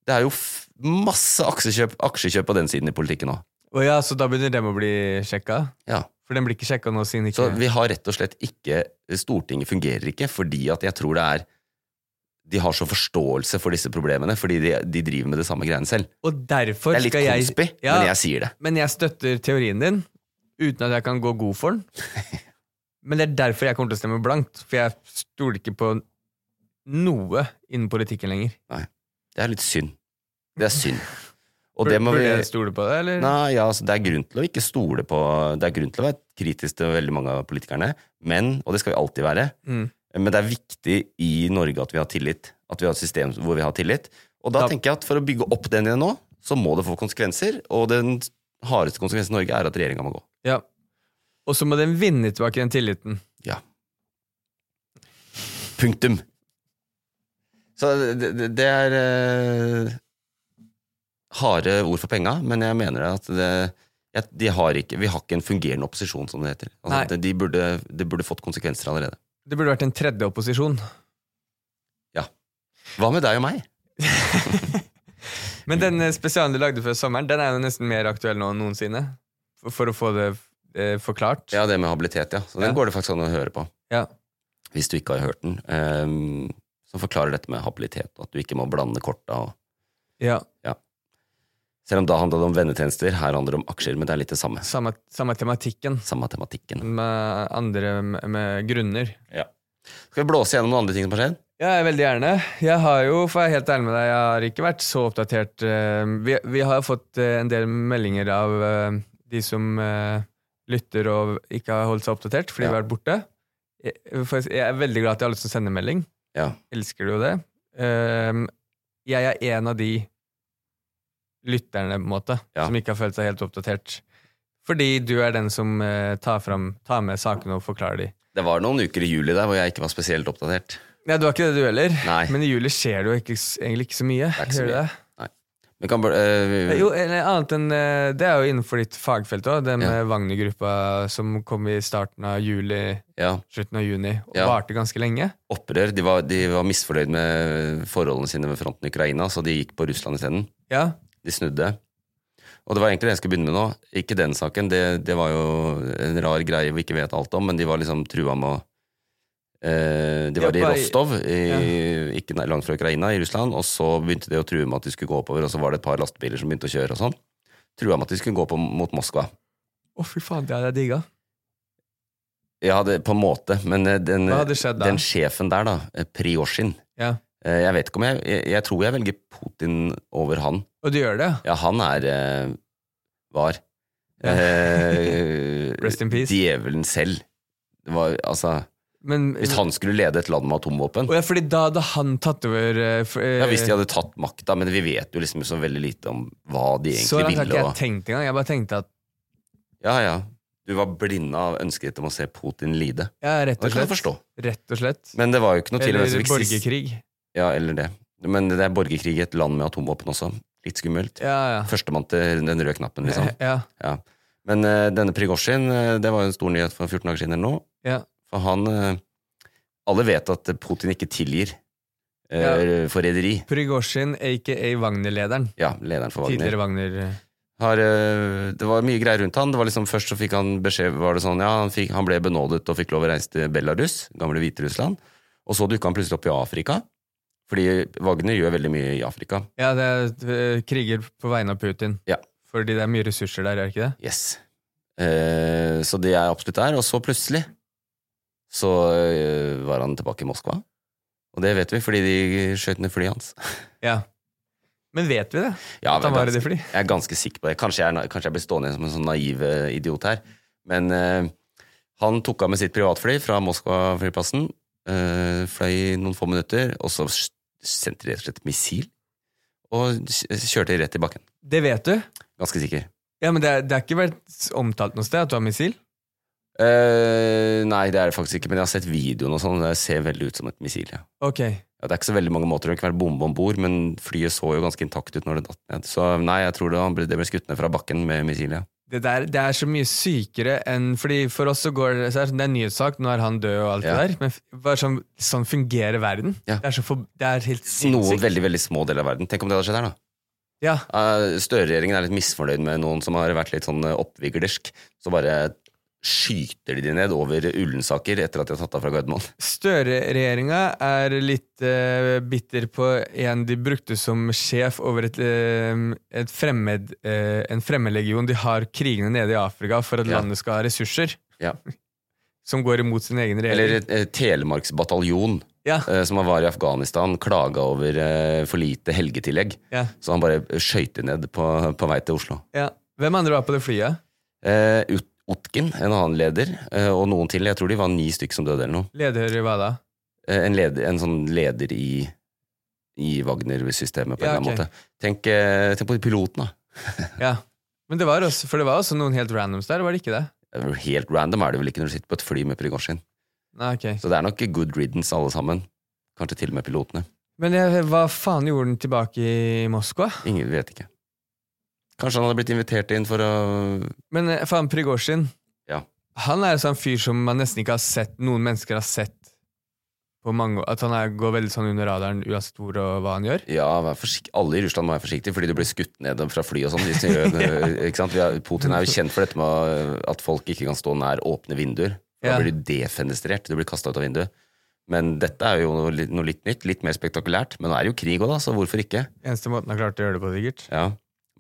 [SPEAKER 2] Det er jo f masse aksjekjøp, aksjekjøp på den siden i politikken nå.
[SPEAKER 1] Å ja, så da begynner dem å bli sjekka?
[SPEAKER 2] Ja.
[SPEAKER 1] For den blir ikke sjekka nå siden
[SPEAKER 2] Så
[SPEAKER 1] ikke
[SPEAKER 2] vi har rett og slett ikke Stortinget fungerer ikke fordi at jeg tror det er De har så forståelse for disse problemene fordi de, de driver med det samme greiene selv.
[SPEAKER 1] Og derfor
[SPEAKER 2] Det er litt
[SPEAKER 1] skal jeg
[SPEAKER 2] konspi,
[SPEAKER 1] Ja.
[SPEAKER 2] men jeg sier det.
[SPEAKER 1] Men jeg støtter teorien din, uten at jeg kan gå god for den. Men det er derfor jeg kommer til å stemme blankt, for jeg stoler ikke på noe innen politikken lenger.
[SPEAKER 2] Det er litt synd. Det er synd. Og
[SPEAKER 1] Bur-
[SPEAKER 2] det må
[SPEAKER 1] Burde
[SPEAKER 2] vi
[SPEAKER 1] jeg stole på det, eller?
[SPEAKER 2] Nei, ja, altså, det er grunn til å ikke stole på Det er grunn til å være kritisk til veldig mange av politikerne, men, og det skal vi alltid være,
[SPEAKER 1] Mm.
[SPEAKER 2] men det er viktig i Norge at vi har tillit. At vi har et system hvor vi har tillit. Og da
[SPEAKER 1] Da-
[SPEAKER 2] tenker jeg at for å bygge opp den igjen nå, så må det få konsekvenser, og den hardeste konsekvensen i Norge er at regjeringa må gå.
[SPEAKER 1] Ja. Og så må den vinne tilbake den tilliten.
[SPEAKER 2] Ja. Punktum. Så det, det, det er eh, harde ord for penga, men jeg mener at det, jeg, de har ikke, vi har ikke en fungerende opposisjon, som det heter. Altså,
[SPEAKER 1] Nei.
[SPEAKER 2] at de burde, det burde fått konsekvenser allerede.
[SPEAKER 1] Det burde vært en tredje opposisjon.
[SPEAKER 2] Hva med deg og meg?
[SPEAKER 1] Men den eh, spesialen du lagde før sommeren, den er jo nesten mer aktuell nå enn noensinne. For, for å få det eh, forklart.
[SPEAKER 2] Ja, det med habilitet, ja. Så den
[SPEAKER 1] Ja.
[SPEAKER 2] går det faktisk an å høre på.
[SPEAKER 1] Ja.
[SPEAKER 2] hvis du ikke har hørt den, ehm, som forklarer dette med habilitet, og at du ikke må blande korta. Og,
[SPEAKER 1] Ja,
[SPEAKER 2] selv om da handla det om vennetjenester, her handler det om aksjer, men det er litt det samme.
[SPEAKER 1] samme, samme tematikken,
[SPEAKER 2] Samme tematikken.
[SPEAKER 1] med andre med, med grunner.
[SPEAKER 2] Skal vi blåse gjennom noen andre ting som har skjedd?
[SPEAKER 1] Ja, veldig gjerne. Jeg har jo, for jeg er helt ærlig med deg, jeg har ikke vært så oppdatert. eh, Vi, vi har jo fått eh, en del meldinger av eh, de som eh, lytter og ikke har holdt seg oppdatert, fordi
[SPEAKER 2] Ja.
[SPEAKER 1] vi har vært borte. Jeg, for jeg er veldig glad at jeg har lyst til å sende melding.
[SPEAKER 2] Ja.
[SPEAKER 1] Elsker jo det. Eh, Jeg er en av de lytterne, på en måte,
[SPEAKER 2] Ja.
[SPEAKER 1] som ikke har følt seg helt oppdatert. Fordi du er den som eh, tar, fram, tar med sakene og forklarer de.
[SPEAKER 2] Det var noen uker i juli der hvor jeg ikke var spesielt oppdatert.
[SPEAKER 1] Nei, du har ikke det du heller.
[SPEAKER 2] Nei.
[SPEAKER 1] Men i juli skjer det jo ikke, egentlig ikke så mye.
[SPEAKER 2] er ikke så
[SPEAKER 1] gjør det
[SPEAKER 2] mye.
[SPEAKER 1] det?
[SPEAKER 2] Men kan, bl- eh,
[SPEAKER 1] Jo, eller annet enn eh, Det er jo innenfor ditt fagfelt òg, det med
[SPEAKER 2] Ja.
[SPEAKER 1] Wagner-gruppa som kom i starten av juli,
[SPEAKER 2] ja,
[SPEAKER 1] slutten av juni, og
[SPEAKER 2] Ja.
[SPEAKER 1] varte ganske lenge.
[SPEAKER 2] opprør. De var, de var misfornøyd med forholdene sine ved fronten i Ukraina, så de gikk på Russland isteden.
[SPEAKER 1] Ja.
[SPEAKER 2] De snudde. Og det var egentlig det jeg skulle begynne med nå. Ikke den saken, det, det var jo en rar greie vi ikke vet alt om, men de var liksom trua med å eh, De var
[SPEAKER 1] Ja,
[SPEAKER 2] i
[SPEAKER 1] på-
[SPEAKER 2] Rostov, i, ikke nær- langt fra Ukraina, i Russland, og så begynte de å true med at de skulle gå oppover, og så var det et par lastebiler som begynte å kjøre og sånn. Trua med at de skulle gå på, mot Moskva.
[SPEAKER 1] Å, fy faen, det hadde jeg digga.
[SPEAKER 2] Ja, det, på en måte, men eh, den,
[SPEAKER 1] Hva hadde skjedd da?
[SPEAKER 2] den sjefen der, da, eh, Prigozjin
[SPEAKER 1] Ja.
[SPEAKER 2] eh, Jeg vet ikke om jeg, jeg Jeg tror jeg velger Putin over han.
[SPEAKER 1] Og du gjør det? ja.
[SPEAKER 2] Ja, han er eh, var.
[SPEAKER 1] Ja.
[SPEAKER 2] Eh,
[SPEAKER 1] Rest in peace.
[SPEAKER 2] Djevelen selv. Det var, altså,
[SPEAKER 1] Men,
[SPEAKER 2] hvis han skulle lede et land med atomvåpen
[SPEAKER 1] Å ja, fordi da hadde han tatt over eh, for, eh,
[SPEAKER 2] ja, Hvis de hadde tatt makta, men vi vet jo liksom så veldig lite om hva de
[SPEAKER 1] Så
[SPEAKER 2] egentlig ville.
[SPEAKER 1] langt har ikke jeg
[SPEAKER 2] Og,
[SPEAKER 1] tenkt engang. Jeg bare tenkte at
[SPEAKER 2] ja, ja. Du var blinda av ønsket ditt om å se Putin lide.
[SPEAKER 1] Ja, rett
[SPEAKER 2] Det
[SPEAKER 1] og
[SPEAKER 2] kan jeg
[SPEAKER 1] slett.
[SPEAKER 2] forstå.
[SPEAKER 1] Rett og slett.
[SPEAKER 2] Men det var jo ikke noe tvil om hvem som
[SPEAKER 1] Eller
[SPEAKER 2] fikk sist.
[SPEAKER 1] borgerkrig.
[SPEAKER 2] Ja, eller det. Men det er borgerkrig i et land med atomvåpen også. Litt skummelt.
[SPEAKER 1] Ja, ja.
[SPEAKER 2] Førstemann til den røde knappen, liksom.
[SPEAKER 1] Ja,
[SPEAKER 2] Ja. Men eh, denne Prigozjin, eh, det var jo en stor nyhet for 14 dager siden eller noe.
[SPEAKER 1] ja.
[SPEAKER 2] For han eh, Alle vet at Putin ikke tilgir eh, forræderi.
[SPEAKER 1] Prigozjin, aka Wagner-lederen.
[SPEAKER 2] Ja, lederen for Wagner.
[SPEAKER 1] Tidligere Wagner.
[SPEAKER 2] Har, eh, det var mye greier rundt han. Det var liksom Først så fikk han beskjed var det sånn, ja, han, fikk, han ble benådet og fikk lov å reise til Belarus, gamle Hviterussland. Og så dukka han plutselig opp i Afrika. Fordi Wagner gjør veldig mye i Afrika.
[SPEAKER 1] Ja, det er eh, kriger på vegne av Putin.
[SPEAKER 2] Ja.
[SPEAKER 1] Fordi det er mye ressurser der, er det ikke det?
[SPEAKER 2] Yes. Eh, så det er absolutt der. Og så plutselig så eh, var han tilbake i Moskva. Og det vet vi, fordi de skjøt ned flyet hans.
[SPEAKER 1] Ja. Men vet vi det?
[SPEAKER 2] Ja,
[SPEAKER 1] At han
[SPEAKER 2] jeg er
[SPEAKER 1] var i det
[SPEAKER 2] ganske-
[SPEAKER 1] fly?
[SPEAKER 2] Jeg er ganske sikker på det. Kanskje jeg, er na- kanskje jeg blir stående igjen som en sånn naiv eh, idiot her. Men eh, han tok av med sitt privatfly fra Moskva-flyplassen, eh, fløy noen få minutter, og så s- sendte de rett og slett et missil, og s- kjørte rett i bakken.
[SPEAKER 1] Det vet du.
[SPEAKER 2] Ganske sikker.
[SPEAKER 1] Ja, men det er, det er ikke vært omtalt noe sted at du har missil?
[SPEAKER 2] Eh, nei, det er det faktisk ikke, men jeg har sett videoen og sånn, og det ser veldig ut som et missil. Ja.
[SPEAKER 1] Ok.
[SPEAKER 2] Ja, det er ikke så veldig mange måter det kunne vært bombe om bord, men flyet så jo ganske intakt ut når det datt ned. Så nei, jeg tror det, han ble- det ble skutt ned fra bakken med missil, ja.
[SPEAKER 1] Det, der, det er så mye sykere enn Fordi for oss så går det så er det sånn, Det er en nyhetssak, nå er han død og alt
[SPEAKER 2] Ja.
[SPEAKER 1] det der. Men f- bare sånn, sånn fungerer verden.
[SPEAKER 2] Ja.
[SPEAKER 1] Det, er så for, det er helt
[SPEAKER 2] Noen
[SPEAKER 1] sinnssykt.
[SPEAKER 2] veldig veldig små deler av verden. Tenk om det hadde skjedd her, da.
[SPEAKER 1] Ja.
[SPEAKER 2] Eh, Støre-regjeringen er litt misfornøyd med noen som har vært litt sånn eh, oppviglersk. Så bare skyter de de ned over Ullensaker etter at de har tatt av fra Gardermoen.
[SPEAKER 1] Støre-regjeringa er litt eh, bitter på en de brukte som sjef over et, eh, et fremmed, eh, en fremmedlegion. De har krigene nede i Afrika for at
[SPEAKER 2] Ja.
[SPEAKER 1] landet skal ha ressurser
[SPEAKER 2] Ja.
[SPEAKER 1] som går imot sin egen
[SPEAKER 2] Eller
[SPEAKER 1] regjering.
[SPEAKER 2] eh, Telemarks bataljon,
[SPEAKER 1] ja,
[SPEAKER 2] eh, som var i Afghanistan, klaga over eh, for lite helgetillegg.
[SPEAKER 1] ja,
[SPEAKER 2] Så han bare skøyter ned på, på vei til Oslo.
[SPEAKER 1] ja. Hvem andre var på det flyet?
[SPEAKER 2] Eh, Ut- Otkin, en annen leder, eh, og noen til. Jeg tror de var ni stykker som døde eller noe.
[SPEAKER 1] Leder i hva da?
[SPEAKER 2] Eh, en, leder, en sånn leder i, i Wagner-systemet, på en
[SPEAKER 1] Ja,
[SPEAKER 2] eller annen
[SPEAKER 1] ok.
[SPEAKER 2] måte. Tenk, eh, tenk på de pilotene.
[SPEAKER 1] Ja. Men det var også, for det var også noen helt randoms der, var det ikke det?
[SPEAKER 2] Det er vel Helt random er det vel ikke når du sitter på et fly med Prigozjin.
[SPEAKER 1] Nei, ok.
[SPEAKER 2] Så det er nok good riddance alle sammen. Kanskje til og med pilotene.
[SPEAKER 1] Men eh, hva faen gjorde den tilbake i Moskva?
[SPEAKER 2] Ingen vet ikke. Kanskje han hadde blitt invitert inn for å
[SPEAKER 1] Men eh, faen, Prigozjin
[SPEAKER 2] Ja.
[SPEAKER 1] Han er en sånn fyr som man nesten ikke har sett Noen mennesker har sett på mange år. At han er, går veldig sånn under radaren uansett hvor og hva han gjør.
[SPEAKER 2] Ja, vær forsikt- alle i Russland må være forsiktige, fordi du blir skutt ned fra fly og sånn. hvis du gjør det, ikke sant? Vi er- Putin er jo kjent for dette med øh, at folk ikke kan stå nær åpne vinduer. Da
[SPEAKER 1] Ja.
[SPEAKER 2] blir du defenestrert, du blir kasta ut av vinduet. Men dette er jo noe, litt- noe litt nytt, litt mer spektakulært. Men nå er det jo krig òg, da, så hvorfor ikke?
[SPEAKER 1] Eneste måten han klarte å gjøre det på, sikkert.
[SPEAKER 2] Ja.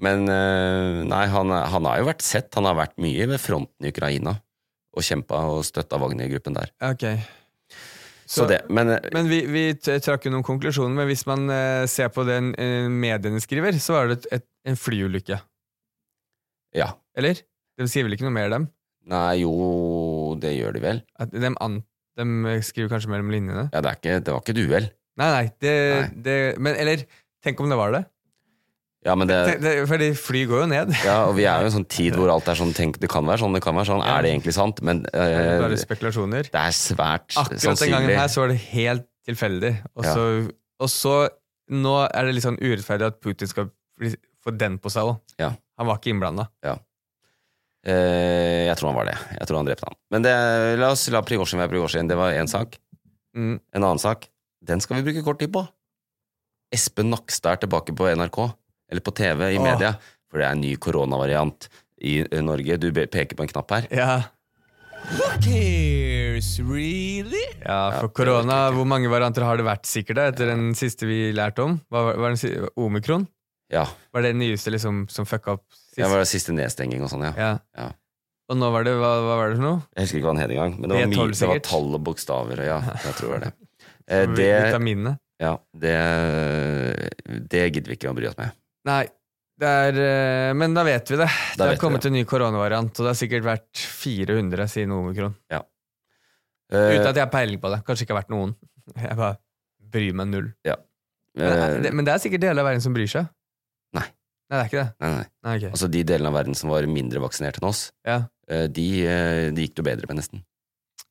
[SPEAKER 2] Men øh, nei, han, er- han har jo vært sett, han har vært mye ved fronten i Ukraina og kjempa og støtta Wagner-gruppen der.
[SPEAKER 1] Ok.
[SPEAKER 2] Så,
[SPEAKER 1] Så-
[SPEAKER 2] det, men eh,
[SPEAKER 1] Men vi, vi t- trakk jo noen konklusjoner, men hvis man eh, ser på det eh, mediene skriver, så var det et, et, en flyulykke.
[SPEAKER 2] ja.
[SPEAKER 1] Eller? De skriver vel ikke noe mer, dem?
[SPEAKER 2] Nei, jo, det gjør de vel.
[SPEAKER 1] At de, an, de skriver kanskje mellom linjene?
[SPEAKER 2] Ja, det, er ikke, det var ikke duell.
[SPEAKER 1] Nei, nei. Det,
[SPEAKER 2] Nei.
[SPEAKER 1] Det, men eller Tenk om det var det?
[SPEAKER 2] Ja, men det,
[SPEAKER 1] Tenk, det fordi fly går jo ned.
[SPEAKER 2] Ja, og vi er jo i en sånn tid hvor alt er sånn tenk, Det kan være sånn, det kan være sånn.
[SPEAKER 1] Ja.
[SPEAKER 2] Er det egentlig sant? Men
[SPEAKER 1] Det er
[SPEAKER 2] eh,
[SPEAKER 1] Bare spekulasjoner.
[SPEAKER 2] det er svært
[SPEAKER 1] Akkurat den gangen
[SPEAKER 2] sannsynlig.
[SPEAKER 1] her så var det helt tilfeldig. Og
[SPEAKER 2] Ja.
[SPEAKER 1] så, og så Nå er det litt sånn urettferdig at Putin skal bli- få den på seg òg.
[SPEAKER 2] Ja.
[SPEAKER 1] Han var ikke innblanda.
[SPEAKER 2] Eh, jeg tror han var det. Jeg tror han drepte han. Men det, la oss la Prigozjin være Prigozjin. Det var én sak.
[SPEAKER 1] Mm.
[SPEAKER 2] En annen sak. Den skal vi bruke kort tid på. Espen Nakstad er tilbake på NRK. Eller på TV, i
[SPEAKER 1] Åh.
[SPEAKER 2] media. For det er en ny koronavariant i eh, Norge. Du be- peker på en knapp her.
[SPEAKER 1] Ja. Ja, for korona, hvor mange varianter har det vært sikkert da, etter den siste vi lærte om? Hva var, var den, si- omikron?
[SPEAKER 2] Ja.
[SPEAKER 1] Var det den nyeste liksom, som fucka opp sist?
[SPEAKER 2] Det var det siste nedstenging og sånn, ja.
[SPEAKER 1] Ja.
[SPEAKER 2] Ja.
[SPEAKER 1] Og nå var det, hva, hva var det for noe?
[SPEAKER 2] Jeg husker ikke hva han het engang, men det var,
[SPEAKER 1] Det er
[SPEAKER 2] mye,
[SPEAKER 1] tolv,
[SPEAKER 2] det var
[SPEAKER 1] sikkert.
[SPEAKER 2] tall og bokstaver. og Ja, jeg tror det var det. Eh,
[SPEAKER 1] Vi-
[SPEAKER 2] det,
[SPEAKER 1] Vitaminene?
[SPEAKER 2] ja, det, det gidder vi ikke å bry oss med.
[SPEAKER 1] Nei, det er, eh, men da vet vi det. det
[SPEAKER 2] vet
[SPEAKER 1] har
[SPEAKER 2] vi
[SPEAKER 1] kommet
[SPEAKER 2] det.
[SPEAKER 1] en ny koronavariant, og det har sikkert vært 400 siden omikron.
[SPEAKER 2] Eh,
[SPEAKER 1] Uten at jeg har peiling på det. Kanskje ikke har vært noen. Jeg bare bryr meg null.
[SPEAKER 2] eh,
[SPEAKER 1] Men det, men det er sikkert deler av verden som bryr seg.
[SPEAKER 2] Nei.
[SPEAKER 1] Nei, det er ikke det.
[SPEAKER 2] nei, nei.
[SPEAKER 1] Nei, ok.
[SPEAKER 2] Altså, de delene av verden som var mindre vaksinert enn oss,
[SPEAKER 1] Ja.
[SPEAKER 2] eh, de, eh, de gikk det jo bedre med, nesten.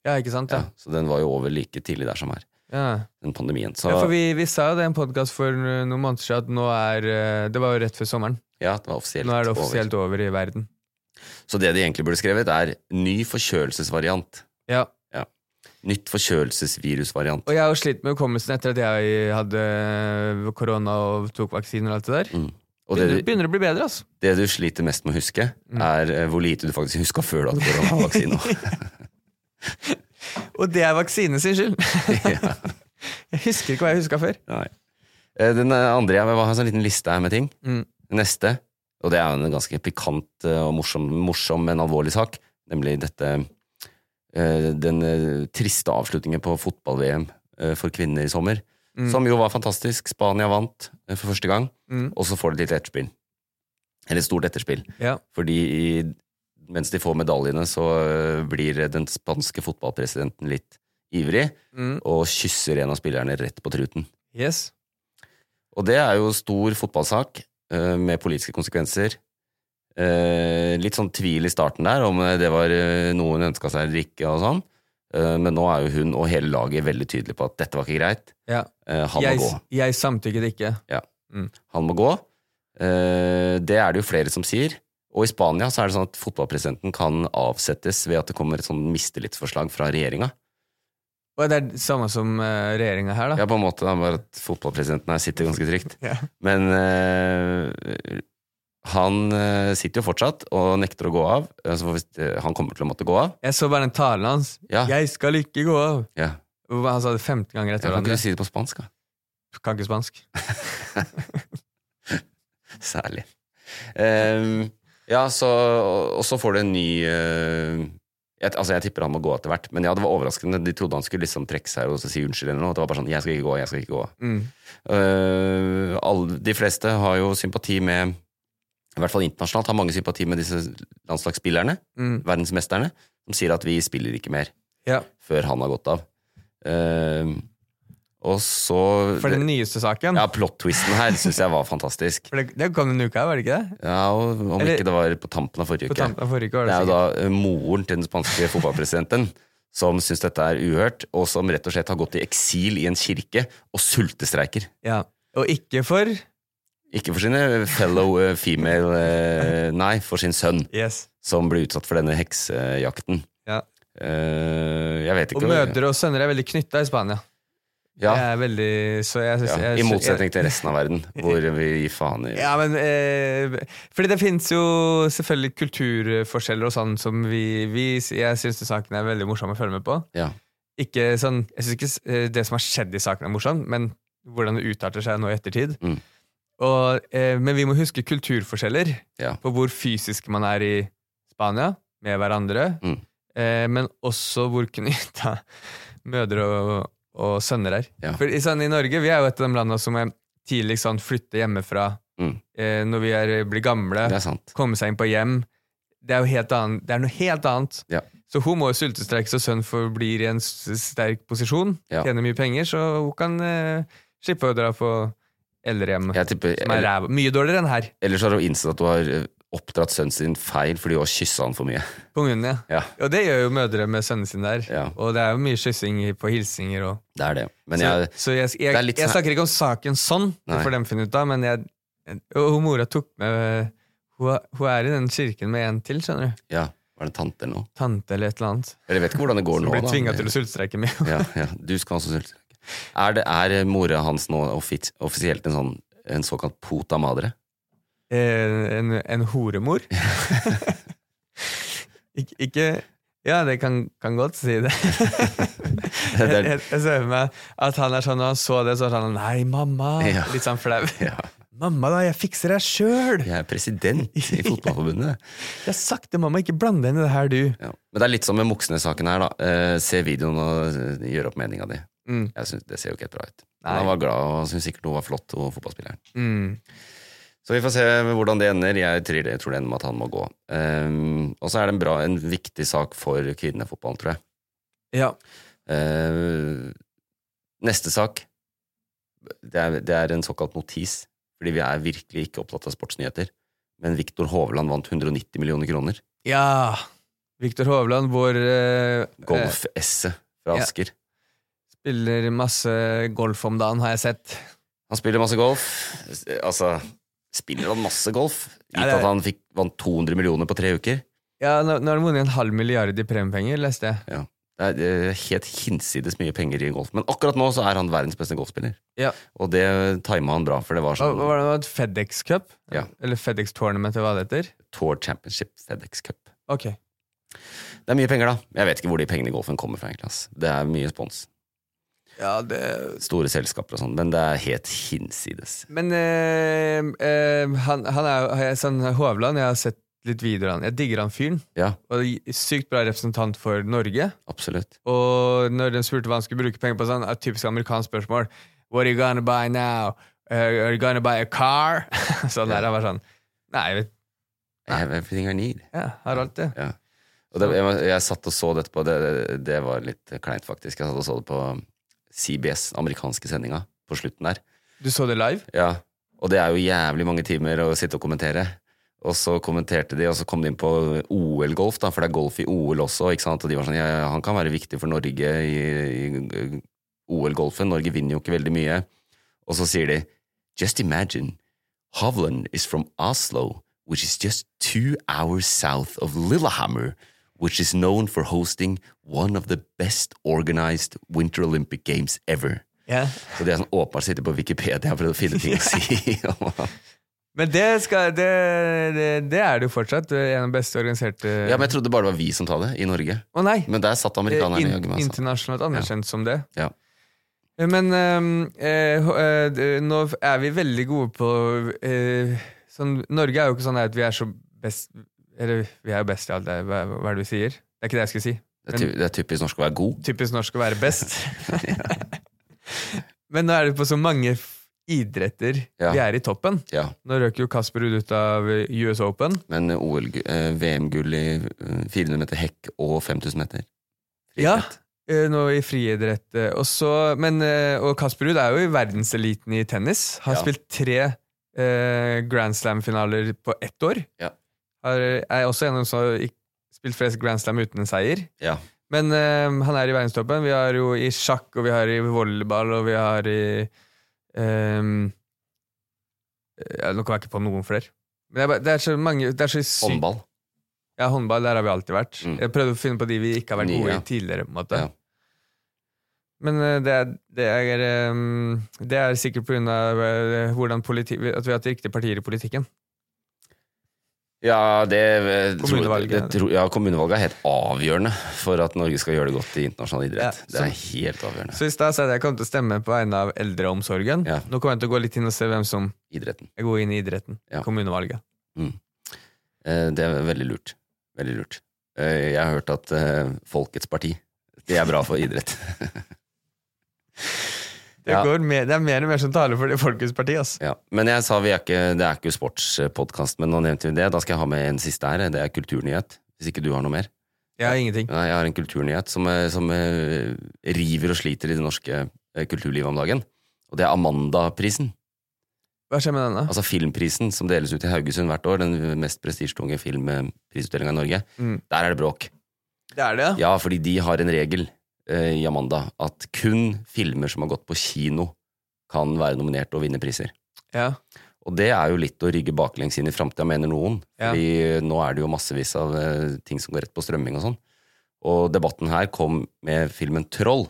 [SPEAKER 1] ja, ikke sant?
[SPEAKER 2] Ja,
[SPEAKER 1] Ja.
[SPEAKER 2] så den var jo over like tidlig der som her,
[SPEAKER 1] ja.
[SPEAKER 2] den pandemien. Så
[SPEAKER 1] Ja, for vi, vi sa jo det i en podkast for eh, noen måneder siden at nå er eh, Det var jo rett før sommeren.
[SPEAKER 2] ja, det var offisielt,
[SPEAKER 1] Nå er det offisielt over, i verden.
[SPEAKER 2] over. Så det de egentlig burde skrevet, er ny forkjølelsesvariant.
[SPEAKER 1] Ja.
[SPEAKER 2] Nytt forkjølelsesvirusvariant.
[SPEAKER 1] Og jeg har jo slitt med hukommelsen etter at jeg hadde eh, korona og tok vaksiner og alt det der.
[SPEAKER 2] Mm. Og det,
[SPEAKER 1] Begynner,
[SPEAKER 2] du-
[SPEAKER 1] begynner å bli bedre, altså.
[SPEAKER 2] det du sliter mest med å huske,
[SPEAKER 1] Mm.
[SPEAKER 2] er eh, hvor lite du faktisk huska før du hadde koronavaksine.
[SPEAKER 1] Og det er vaksinen sin skyld!
[SPEAKER 2] ja.
[SPEAKER 1] Jeg husker ikke hva jeg huska før.
[SPEAKER 2] Nei. Eh, Den eh, andre, jeg har en sånn liten liste her med ting.
[SPEAKER 1] Mm.
[SPEAKER 2] Neste, og det er jo en ganske pikant eh, og morsom, morsom men alvorlig sak, nemlig dette eh, den eh, triste avslutningen på fotball-VM eh, for kvinner i sommer,
[SPEAKER 1] Mm.
[SPEAKER 2] som jo var fantastisk. Spania vant eh, for første gang,
[SPEAKER 1] Mm.
[SPEAKER 2] og så får de et lite etterspill. Eller et stort etterspill.
[SPEAKER 1] Ja.
[SPEAKER 2] Fordi i, mens de får medaljene, så eh, blir den spanske fotballpresidenten litt ivrig,
[SPEAKER 1] Mm.
[SPEAKER 2] og kysser en av spillerne rett på truten.
[SPEAKER 1] Yes.
[SPEAKER 2] Og det er jo stor fotballsak eh, med politiske konsekvenser. Eh, litt sånn tvil i starten der om eh, det var eh, noe hun ønska seg eller ikke. og sånn. Eh, men nå er jo hun og hele laget veldig tydelig på at dette var ikke greit.
[SPEAKER 1] Ja.
[SPEAKER 2] Eh, han
[SPEAKER 1] Jeg,
[SPEAKER 2] må gå.
[SPEAKER 1] jeg samtykket ikke.
[SPEAKER 2] Han må gå. Eh, det er det jo flere som sier. Og i Spania så er det sånn at fotballpresidenten kan avsettes ved at det kommer et sånn mistillitsforslag fra regjeringa.
[SPEAKER 1] Og det er det samme som uh, regjeringa her, da.
[SPEAKER 2] Ja, på en måte. da, Bare at fotballpresidenten her sitter ganske trygt.
[SPEAKER 1] Ja.
[SPEAKER 2] Men eh, han eh, sitter jo fortsatt og nekter å gå av. eh, Så hvis, han kommer til å måtte gå av.
[SPEAKER 1] Jeg så bare den talen hans.
[SPEAKER 2] Ja.
[SPEAKER 1] 'Jeg skal ikke gå av'.
[SPEAKER 2] Ja.
[SPEAKER 1] Hvor Han sa det 15 ganger
[SPEAKER 2] Jeg
[SPEAKER 1] etter
[SPEAKER 2] kan ikke
[SPEAKER 1] hverandre.
[SPEAKER 2] du si det på spansk, da.
[SPEAKER 1] Kan ikke spansk.
[SPEAKER 2] Særlig. Ehm, ja, så, og, og så får du en ny eh, jeg, Altså, jeg tipper han må gå etter hvert, men ja, det var overraskende. De trodde han skulle liksom trekke seg og så si unnskyld eller noe. Det var bare sånn 'jeg skal ikke gå, jeg skal ikke gå'.
[SPEAKER 1] Mm.
[SPEAKER 2] Eh, alle, de fleste har jo sympati med I hvert fall internasjonalt har mange sympati med disse landslagsspillerne,
[SPEAKER 1] Mm.
[SPEAKER 2] verdensmesterne, som sier at vi spiller ikke mer
[SPEAKER 1] Ja.
[SPEAKER 2] før han har gått av. Eh, og så
[SPEAKER 1] For den nyeste saken.
[SPEAKER 2] Ja, plot-twisten her syns jeg var fantastisk.
[SPEAKER 1] For det, det kom denne uka, var det ikke det?
[SPEAKER 2] Ja, og Om
[SPEAKER 1] Eller-
[SPEAKER 2] ikke det var på tampen av forrige
[SPEAKER 1] På
[SPEAKER 2] uke.
[SPEAKER 1] tampen av forrige uke. var
[SPEAKER 2] Det
[SPEAKER 1] det
[SPEAKER 2] er jo
[SPEAKER 1] sikkert.
[SPEAKER 2] da eh, moren til den spanske fotballpresidenten som syns dette er uhørt, og som rett og slett har gått i eksil i en kirke og sultestreiker.
[SPEAKER 1] Ja. Og ikke for
[SPEAKER 2] Ikke for sine fellow eh, female eh, Nei, for sin sønn,
[SPEAKER 1] Yes.
[SPEAKER 2] som ble utsatt for denne heksejakten.
[SPEAKER 1] Ja.
[SPEAKER 2] Eh, jeg vet
[SPEAKER 1] Og
[SPEAKER 2] ikke
[SPEAKER 1] mødre og sønner er veldig knytta i Spania.
[SPEAKER 2] Ja.
[SPEAKER 1] Jeg er veldig så jeg, synes-
[SPEAKER 2] Ja,
[SPEAKER 1] jeg,
[SPEAKER 2] I motsetning til resten av verden, hvor vi gir faen i
[SPEAKER 1] Ja, men eh, Fordi det finnes jo selvfølgelig kulturforskjeller og sånn som vi, vi Jeg syns saken er veldig morsom å følge med på.
[SPEAKER 2] Ja.
[SPEAKER 1] Ikke sånn, Jeg syns ikke eh, det som har skjedd i saken, er morsom, men hvordan det utarter seg nå i ettertid.
[SPEAKER 2] Mm.
[SPEAKER 1] Og, eh, men vi må huske kulturforskjeller
[SPEAKER 2] Ja.
[SPEAKER 1] på hvor fysisk man er i Spania med hverandre,
[SPEAKER 2] Mm.
[SPEAKER 1] eh, men også hvor knytta mødre og, og sønner er.
[SPEAKER 2] Ja.
[SPEAKER 1] For i, sånn, I Norge vi er jo et av de landene som er tidligst sånn, flytter hjemmefra
[SPEAKER 2] Mm.
[SPEAKER 1] eh, når vi er, blir gamle,
[SPEAKER 2] Det er sant.
[SPEAKER 1] komme seg inn på hjem. Det er, jo helt annet, det er noe helt annet.
[SPEAKER 2] Ja.
[SPEAKER 1] Så hun må jo sultestreikes, og sønnen forblir i en s- sterk posisjon,
[SPEAKER 2] Ja.
[SPEAKER 1] tjener mye penger, så hun kan eh, slippe å dra på eldrehjem.
[SPEAKER 2] Jeg tipper,
[SPEAKER 1] Som er ræva. Mye dårligere enn her.
[SPEAKER 2] ellers har hun innsett at hun har eh, oppdratt sønnen sin feil fordi hun har kyssa han for mye.
[SPEAKER 1] På munnen, ja.
[SPEAKER 2] Ja,
[SPEAKER 1] Og det gjør jo mødre med sønnene sine der.
[SPEAKER 2] Ja.
[SPEAKER 1] Og det er jo mye kyssing på hilsinger og
[SPEAKER 2] det er det. Men
[SPEAKER 1] Så,
[SPEAKER 2] jeg,
[SPEAKER 1] så jeg, jeg,
[SPEAKER 2] det er
[SPEAKER 1] jeg,
[SPEAKER 2] litt sånn-
[SPEAKER 1] snakker ikke om saken sånn, det
[SPEAKER 2] Nei.
[SPEAKER 1] får dem finne ut av, men jeg Og hun mora tok med hun, hun er i den kirken med en til, skjønner du.
[SPEAKER 2] ja, var det tante eller noe?
[SPEAKER 1] Tante eller et eller annet.
[SPEAKER 2] Eller jeg vet ikke hvordan det går
[SPEAKER 1] Hun
[SPEAKER 2] nå.
[SPEAKER 1] blir
[SPEAKER 2] da.
[SPEAKER 1] tvinga til å sultstreike med henne.
[SPEAKER 2] ja, ja, du skal også sultestreike. Er, det- er mora hans nå offi- offisielt en, sånn, en såkalt puta madre?
[SPEAKER 1] En, en horemor. Ik, ikke Ja, det kan, kan godt si det.
[SPEAKER 2] Det
[SPEAKER 1] Jeg,
[SPEAKER 2] er-
[SPEAKER 1] jeg, jeg ser for meg at han er sånn, og han så det, så var han Nei, mamma!
[SPEAKER 2] Ja.
[SPEAKER 1] Litt sånn flau.
[SPEAKER 2] Ja,
[SPEAKER 1] Mamma, da, jeg fikser deg sjøl!
[SPEAKER 2] jeg er president i Fotballforbundet.
[SPEAKER 1] Jeg har sagt til mamma, ikke blande deg inn i det her, du.
[SPEAKER 2] Ja. Men det er litt som med Moxnes-saken her, da. Eh, se videoen og eh, gjør opp meninga di.
[SPEAKER 1] Mm.
[SPEAKER 2] Jeg synes, det ser jo ikke helt bra ut.
[SPEAKER 1] Nei.
[SPEAKER 2] Men han var glad og syntes sikkert hun var flott, hun fotballspilleren.
[SPEAKER 1] Mm.
[SPEAKER 2] Så vi får se hvordan det ender. Jeg tror jeg tror det ender med at han må gå. Ehm, og så er det en, bra, en viktig sak for kvinnefotballen, tror jeg.
[SPEAKER 1] Ja.
[SPEAKER 2] Ehm, neste sak, det er, det er en såkalt notis, fordi vi er virkelig ikke opptatt av sportsnyheter. Men Viktor Hovland vant 190 millioner kroner.
[SPEAKER 1] ja. Viktor Hovland, vår eh, eh,
[SPEAKER 2] Golf-esset fra
[SPEAKER 1] ja.
[SPEAKER 2] Asker.
[SPEAKER 1] Spiller masse golf om dagen, har jeg sett.
[SPEAKER 2] Han spiller masse golf. Altså, spiller han masse golf?
[SPEAKER 1] Ja,
[SPEAKER 2] Gitt
[SPEAKER 1] det-
[SPEAKER 2] at han fikk, vant 200 millioner på tre uker?
[SPEAKER 1] Ja, Nå nå har han vunnet en halv milliard i premiepenger, leste jeg.
[SPEAKER 2] Ja. Det er eh, helt hinsides mye penger i golf. Men akkurat nå så er han verdens beste golfspiller.
[SPEAKER 1] Ja.
[SPEAKER 2] Og det tima han bra, for det var
[SPEAKER 1] Hva,
[SPEAKER 2] sånn
[SPEAKER 1] hva var det, det var et FedEx Cup?
[SPEAKER 2] Ja.
[SPEAKER 1] Eller FedEx Tournament, eller hva det heter?
[SPEAKER 2] Tour Championship FedEx Cup.
[SPEAKER 1] Ok.
[SPEAKER 2] Det er mye penger, da. Jeg vet ikke hvor de pengene i golfen kommer fra, egentlig. ass. Det er mye spons.
[SPEAKER 1] Ja, det
[SPEAKER 2] Store selskaper og sånn. Men det er helt hinsides.
[SPEAKER 1] Men eh, eh, han, han er jo jeg- sånn Hovland, jeg har sett litt videoer av han. Jeg digger han fyren.
[SPEAKER 2] Ja,
[SPEAKER 1] Og sykt bra representant for Norge.
[SPEAKER 2] absolutt.
[SPEAKER 1] Og når de spurte hva han skulle bruke penger på, sånn, et typisk amerikansk spørsmål What are you gonna buy now? Uh, are you gonna buy a car? sånn der, han var sånn Nei, jeg vet
[SPEAKER 2] I have everything I need.
[SPEAKER 1] ja, har alt det.
[SPEAKER 2] Ja. Og det, jeg, jeg satt og så dette på det, det var litt kleint, faktisk. Jeg satt og så det på CBS, amerikanske sendinga, på slutten der.
[SPEAKER 1] Du så det live?
[SPEAKER 2] Ja. Og det er jo jævlig mange timer å sitte og kommentere. Og så kommenterte de, og så kom de inn på OL-golf, da, for det er golf i OL også. ikke sant? Og de var sånn ja, ja, han kan være viktig for Norge i, i OL-golfen. Norge vinner jo ikke veldig mye. Og så sier de Just imagine, Hovland is from Oslo, which is just two hours south of Lillehammer, which is known for hosting one of the best organized Winter Olympic Games ever.
[SPEAKER 1] Ja.
[SPEAKER 2] Så de har sånn åpenbart sittet på Wikipedia og prøvd å finne ting å si. om han.
[SPEAKER 1] Men det, skal, det, det, det er det jo fortsatt. du er En av de beste organiserte
[SPEAKER 2] ja, men Jeg trodde bare det var vi som sa det, i Norge.
[SPEAKER 1] Å nei!
[SPEAKER 2] Men der satt
[SPEAKER 1] Det er
[SPEAKER 2] amerikanerne
[SPEAKER 1] Eh, in,
[SPEAKER 2] jaggu meg. altså.
[SPEAKER 1] internasjonalt anerkjent som det.
[SPEAKER 2] Ja.
[SPEAKER 1] Eh, Men ehm, eh, ho- eh, d- nå er vi veldig gode på eh, sånn, Norge er jo ikke sånn at vi er så best Eller vi er jo best i alt, det er- hva, hva er det vi sier? Det er ikke det jeg skulle si.
[SPEAKER 2] Det er ty- det er typisk norsk å være god.
[SPEAKER 1] Typisk norsk å være best. Men nå er det på så mange f- idretter
[SPEAKER 2] Ja.
[SPEAKER 1] vi er i toppen.
[SPEAKER 2] Ja,
[SPEAKER 1] Nå røk jo Kasper Ruud ut av eh, US Open.
[SPEAKER 2] Men OL, eh, VM-gull i eh, 400 meter hekk og 5000 meter.
[SPEAKER 1] Ja, eh, nå i friidrett. eh, Og, så, men, eh, og Kasper Ruud er jo i verdenseliten i tennis. Har
[SPEAKER 2] Ja.
[SPEAKER 1] spilt tre eh, Grand Slam-finaler på ett år.
[SPEAKER 2] Ja.
[SPEAKER 1] Har, er også en av dem som har ikk- spilt flest Grand Slam uten en seier.
[SPEAKER 2] Ja.
[SPEAKER 1] Men eh, han er i verdenstoppen. Vi har jo i sjakk, og vi har i volleyball, og vi har i ehm, ja, Nå kommer jeg ikke på noen flere. Men det er, bare, det er så mange det er så sykt-
[SPEAKER 2] Håndball.
[SPEAKER 1] Ja, håndball, der har vi alltid vært.
[SPEAKER 2] Mm.
[SPEAKER 1] Jeg prøvde å finne på de vi ikke har vært
[SPEAKER 2] Nye,
[SPEAKER 1] gode
[SPEAKER 2] ja.
[SPEAKER 1] i tidligere. på en måte
[SPEAKER 2] Ja.
[SPEAKER 1] Men eh, det er, det er, eh, det er sikkert pga. eh, hvordan politi at vi har hatt riktige partier i politikken.
[SPEAKER 2] Ja, det, eh, tror-
[SPEAKER 1] Kommunevalget.
[SPEAKER 2] det, tror- ja, kommunevalget er helt avgjørende for at Norge skal gjøre det godt i internasjonal idrett.
[SPEAKER 1] Ja,
[SPEAKER 2] det er helt avgjørende.
[SPEAKER 1] Så i stad sa jeg at jeg kom til å stemme på vegne av eldreomsorgen.
[SPEAKER 2] Ja.
[SPEAKER 1] Nå kommer jeg til å gå litt inn og se hvem som
[SPEAKER 2] Idretten.
[SPEAKER 1] er gode inn i idretten.
[SPEAKER 2] Ja.
[SPEAKER 1] Kommunevalget.
[SPEAKER 2] Eh, Det er veldig lurt. Veldig lurt. Eh, Jeg har hørt at eh, Folkets parti, det er bra for idrett.
[SPEAKER 1] Det,
[SPEAKER 2] Ja.
[SPEAKER 1] går mer, det er mer og mer som taler for det Folkets Parti. ass.
[SPEAKER 2] Ja, men jeg sa vi er ikke, det er ikke sportspodkast, men nå nevnte vi det. Da skal jeg ha med en siste her. Det er kulturnyhet. Hvis ikke du har noe mer.
[SPEAKER 1] Jeg har ingenting.
[SPEAKER 2] Nei, jeg har en kulturnyhet som, eh, som eh, river og sliter i det norske eh, kulturlivet om dagen. Og det er Amanda-prisen.
[SPEAKER 1] Hva skjer med denne?
[SPEAKER 2] Altså filmprisen som deles ut i Haugesund hvert år. Den mest prestisjetunge filmprisutdelinga i Norge.
[SPEAKER 1] Mm.
[SPEAKER 2] Der er det bråk.
[SPEAKER 1] Det er det, ja.
[SPEAKER 2] Ja, fordi de har en regel eh, i Amanda at kun filmer som har gått på kino, kan være nominert og vinne priser.
[SPEAKER 1] ja.
[SPEAKER 2] Og det er jo litt å rygge baklengs inn i framtida, mener noen.
[SPEAKER 1] Ja.
[SPEAKER 2] Fordi nå er det jo massevis av eh, ting som går rett på strømming og sånn. Og debatten her kom med filmen Troll,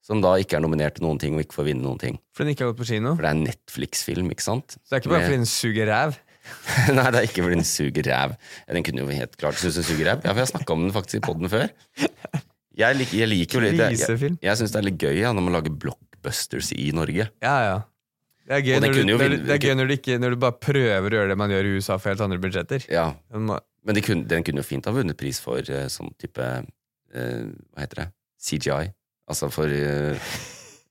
[SPEAKER 2] som da ikke er nominert til noen ting og ikke får vinne noen ting.
[SPEAKER 1] For den ikke har gått på kino.
[SPEAKER 2] For det er en Netflix-film, ikke sant?
[SPEAKER 1] Så det er ikke bare
[SPEAKER 2] Med-
[SPEAKER 1] fordi den suger ræv.
[SPEAKER 2] Nei, det er ikke fordi den suger ræv. Ja, Den kunne jo helt klart synes den suger ræv. Ja, for jeg snakka om den faktisk i poden før. Jeg, lik, jeg liker jo litt Jeg, jeg,
[SPEAKER 1] Krisefilm.
[SPEAKER 2] jeg syns det er litt gøy ja, når man lager blockbusters i Norge.
[SPEAKER 1] Ja, ja. Det er gøy,
[SPEAKER 2] Og den
[SPEAKER 1] når du,
[SPEAKER 2] kunne jo
[SPEAKER 1] når,
[SPEAKER 2] vinne-
[SPEAKER 1] du- det er gøy når, du ikke, når du bare prøver å gjøre det man gjør i USA for helt andre budsjetter.
[SPEAKER 2] Ja,
[SPEAKER 1] Den må-
[SPEAKER 2] Men de kunne, den kunne jo fint ha vunnet pris for eh, sånn type eh, Hva heter det? CGI. Altså for eh,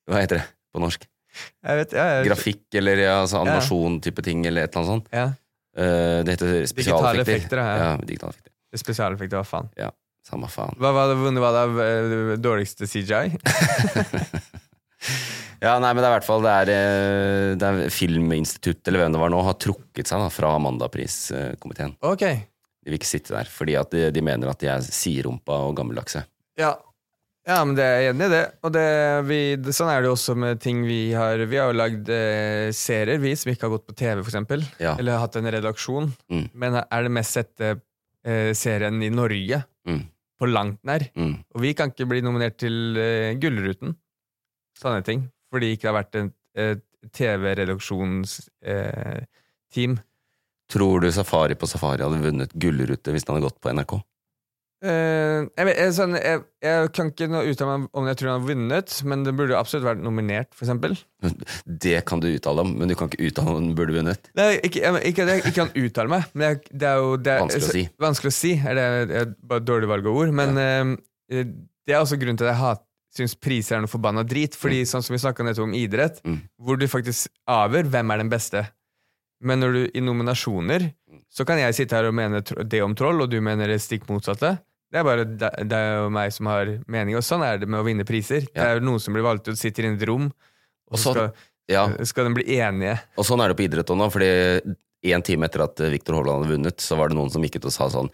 [SPEAKER 2] Hva heter det på norsk?
[SPEAKER 1] Jeg vet, ja, jeg,
[SPEAKER 2] Grafikk eller ja, altså animasjon-type ting eller et eller annet sånt.
[SPEAKER 1] Ja,
[SPEAKER 2] Eh, det heter
[SPEAKER 1] Digitale
[SPEAKER 2] spesialeffekter.
[SPEAKER 1] effekter, ja.
[SPEAKER 2] ja. digitale effekter.
[SPEAKER 1] det er spesialeffekter, hva faen.
[SPEAKER 2] Ja, samme faen.
[SPEAKER 1] Hva var det, vunnet var det eh, dårligste CGI?
[SPEAKER 2] Ja, nei, men det er i hvert fall det er, eh, det er Filminstituttet eller hvem det var nå, har trukket seg da fra Amandapriskomiteen.
[SPEAKER 1] Ok.
[SPEAKER 2] De vil ikke sitte der, fordi at de, de mener at de er siderumpa og gammeldagse.
[SPEAKER 1] Ja. ja, men det er jeg enig i det. Og det, vi, det, sånn er det jo også med ting vi har Vi har jo lagd eh, serier, vi, som ikke har gått på TV, for eksempel.
[SPEAKER 2] Ja.
[SPEAKER 1] Eller hatt en redaksjon.
[SPEAKER 2] Mm.
[SPEAKER 1] Men er det mest sette eh, serien i Norge?
[SPEAKER 2] Mm.
[SPEAKER 1] På langt nær.
[SPEAKER 2] Mm.
[SPEAKER 1] Og vi kan ikke bli nominert til eh, Gullruten. Sånne ting. Fordi det ikke har vært et, et TV-redaksjonsteam. team
[SPEAKER 2] Tror du Safari på Safari hadde vunnet gullrute hvis den hadde gått på NRK?
[SPEAKER 1] Eh, jeg, vet, jeg, sånn, jeg, jeg kan ikke nå uttale meg om jeg tror han har vunnet, men det burde absolutt vært nominert, for eksempel.
[SPEAKER 2] Det kan du uttale om, men du kan ikke uttale om den burde vunnet.
[SPEAKER 1] Nei, ikke, jeg, ikke, jeg, ikke han uttaler meg, men jeg, det er jo det er,
[SPEAKER 2] Vanskelig å si.
[SPEAKER 1] Vanskelig å si, er det er bare et dårlig valg av ord. Men eh, det er også grunnen til at jeg hat, syns priser er noe forbanna drit. Fordi sånn som vi snakka nettopp om idrett,
[SPEAKER 2] Mm.
[SPEAKER 1] hvor du faktisk avgjør hvem er den beste. Men når du i nominasjoner,
[SPEAKER 2] Mm.
[SPEAKER 1] så kan jeg sitte her og mene tro- det om troll, og du mener det stikk motsatte. Det er bare de- det er jo meg som har mening, og sånn er det med å vinne priser. Det
[SPEAKER 2] Ja.
[SPEAKER 1] er jo noen som blir valgt ut, sitter i et rom, og,
[SPEAKER 2] Og
[SPEAKER 1] så
[SPEAKER 2] sånn-
[SPEAKER 1] skal,
[SPEAKER 2] Ja,
[SPEAKER 1] skal de bli enige.
[SPEAKER 2] Og sånn er det på idrett òg nå, fordi én time etter at Viktor Hovland hadde vunnet, så var det noen som gikk ut og sa sånn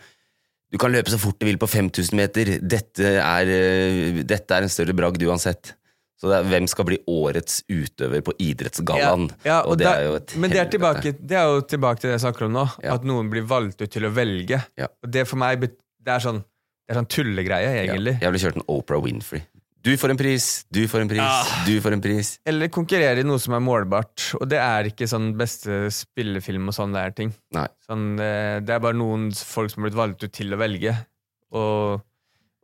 [SPEAKER 2] Du kan løpe så fort du vil på 5000 meter, dette er, eh, dette er en større bragd uansett. Så det er, hvem skal bli årets utøver på idrettsgallaen?
[SPEAKER 1] Ja,
[SPEAKER 2] og, det
[SPEAKER 1] da-
[SPEAKER 2] er jo et
[SPEAKER 1] Men det er,
[SPEAKER 2] helvete.
[SPEAKER 1] tilbake, det er jo tilbake til det jeg snakker om nå,
[SPEAKER 2] Ja.
[SPEAKER 1] at noen blir valgt ut til å velge.
[SPEAKER 2] Ja.
[SPEAKER 1] Og det for meg, bet- det er sånn, det er sånn tullegreie,
[SPEAKER 2] Ja,
[SPEAKER 1] egentlig.
[SPEAKER 2] jeg ville kjørt en Oprah Winfrey. Du får en pris, du får en pris,
[SPEAKER 1] Ah.
[SPEAKER 2] du får en pris.
[SPEAKER 1] Eller konkurrere i noe som er målbart, og det er ikke sånn beste spillefilm og sånn det er ting.
[SPEAKER 2] Nei.
[SPEAKER 1] Sånn, eh, det er bare noen folk som har blitt valgt ut til å velge, og,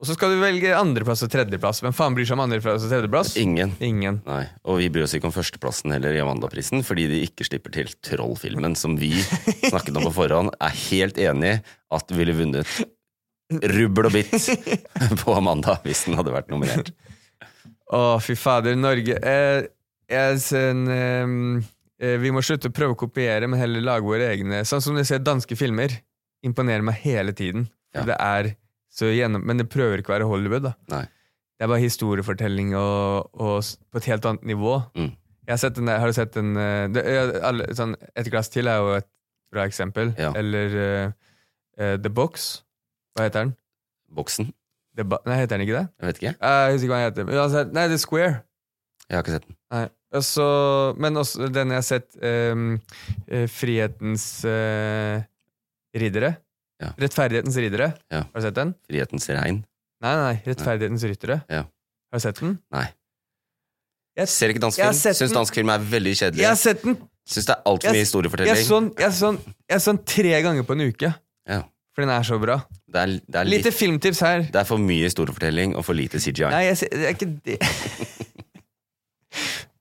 [SPEAKER 1] og så skal du velge andreplass og tredjeplass. Hvem faen bryr seg om andreplass og tredjeplass?
[SPEAKER 2] Ingen.
[SPEAKER 1] Ingen.
[SPEAKER 2] Nei, og vi bryr oss ikke om førsteplassen heller i Amandaprisen, fordi de ikke slipper til Trollfilmen, som vi snakket om på forhånd, er helt enig i at ville vunnet rubbel og bitt på Amanda hvis den hadde vært nominert.
[SPEAKER 1] Å, fy fader, Norge eh, jeg, sen, ehm, eh, Vi må slutte å prøve å kopiere, men heller lage våre egne. Sånn som du ser danske filmer. Imponerer meg hele tiden.
[SPEAKER 2] Ja.
[SPEAKER 1] Det er så gjennom, men det prøver ikke å være Hollywood. da
[SPEAKER 2] Nei.
[SPEAKER 1] Det er bare historiefortelling og, og s- på et helt annet nivå.
[SPEAKER 2] Mm.
[SPEAKER 1] Jeg har, sett en, har du sett en eh, det, eh, alle, sånn, Et glass til er jo et bra eksempel.
[SPEAKER 2] Ja.
[SPEAKER 1] Eller eh, eh, The Box. Hva heter den?
[SPEAKER 2] Boksen?
[SPEAKER 1] The Ba- Nei, heter den ikke det?
[SPEAKER 2] Jeg vet ikke.
[SPEAKER 1] Eh, Jeg husker ikke hva den heter. Men uansett, Nei, The Square.
[SPEAKER 2] Jeg har ikke sett den.
[SPEAKER 1] Nei. Og så- men også den jeg har sett, ehm, eh, Frihetens eh, riddere.
[SPEAKER 2] Ja.
[SPEAKER 1] Rettferdighetens riddere.
[SPEAKER 2] Ja.
[SPEAKER 1] Har du sett den?
[SPEAKER 2] Frihetens regn.
[SPEAKER 1] Nei, nei, Rettferdighetens ryttere.
[SPEAKER 2] Ja.
[SPEAKER 1] Har Har du sett den?
[SPEAKER 2] Nei.
[SPEAKER 1] Jeg-
[SPEAKER 2] Ser ikke dansk
[SPEAKER 1] jeg har
[SPEAKER 2] film.
[SPEAKER 1] sett
[SPEAKER 2] Syns
[SPEAKER 1] den.
[SPEAKER 2] dansk film er veldig kjedelig.
[SPEAKER 1] Jeg har sett den!
[SPEAKER 2] Syns det er altfor
[SPEAKER 1] Jeg-
[SPEAKER 2] mye
[SPEAKER 1] Jeg
[SPEAKER 2] historiefortelling.
[SPEAKER 1] så den, jeg så den, jeg så den tre ganger på en uke.
[SPEAKER 2] Ja.
[SPEAKER 1] For den er så bra.
[SPEAKER 2] Det, er, det, er
[SPEAKER 1] Lite
[SPEAKER 2] litt,
[SPEAKER 1] filmtips her.
[SPEAKER 2] det er for mye historiefortelling og for lite CGI.
[SPEAKER 1] Nei, jeg, ser- det er ikke det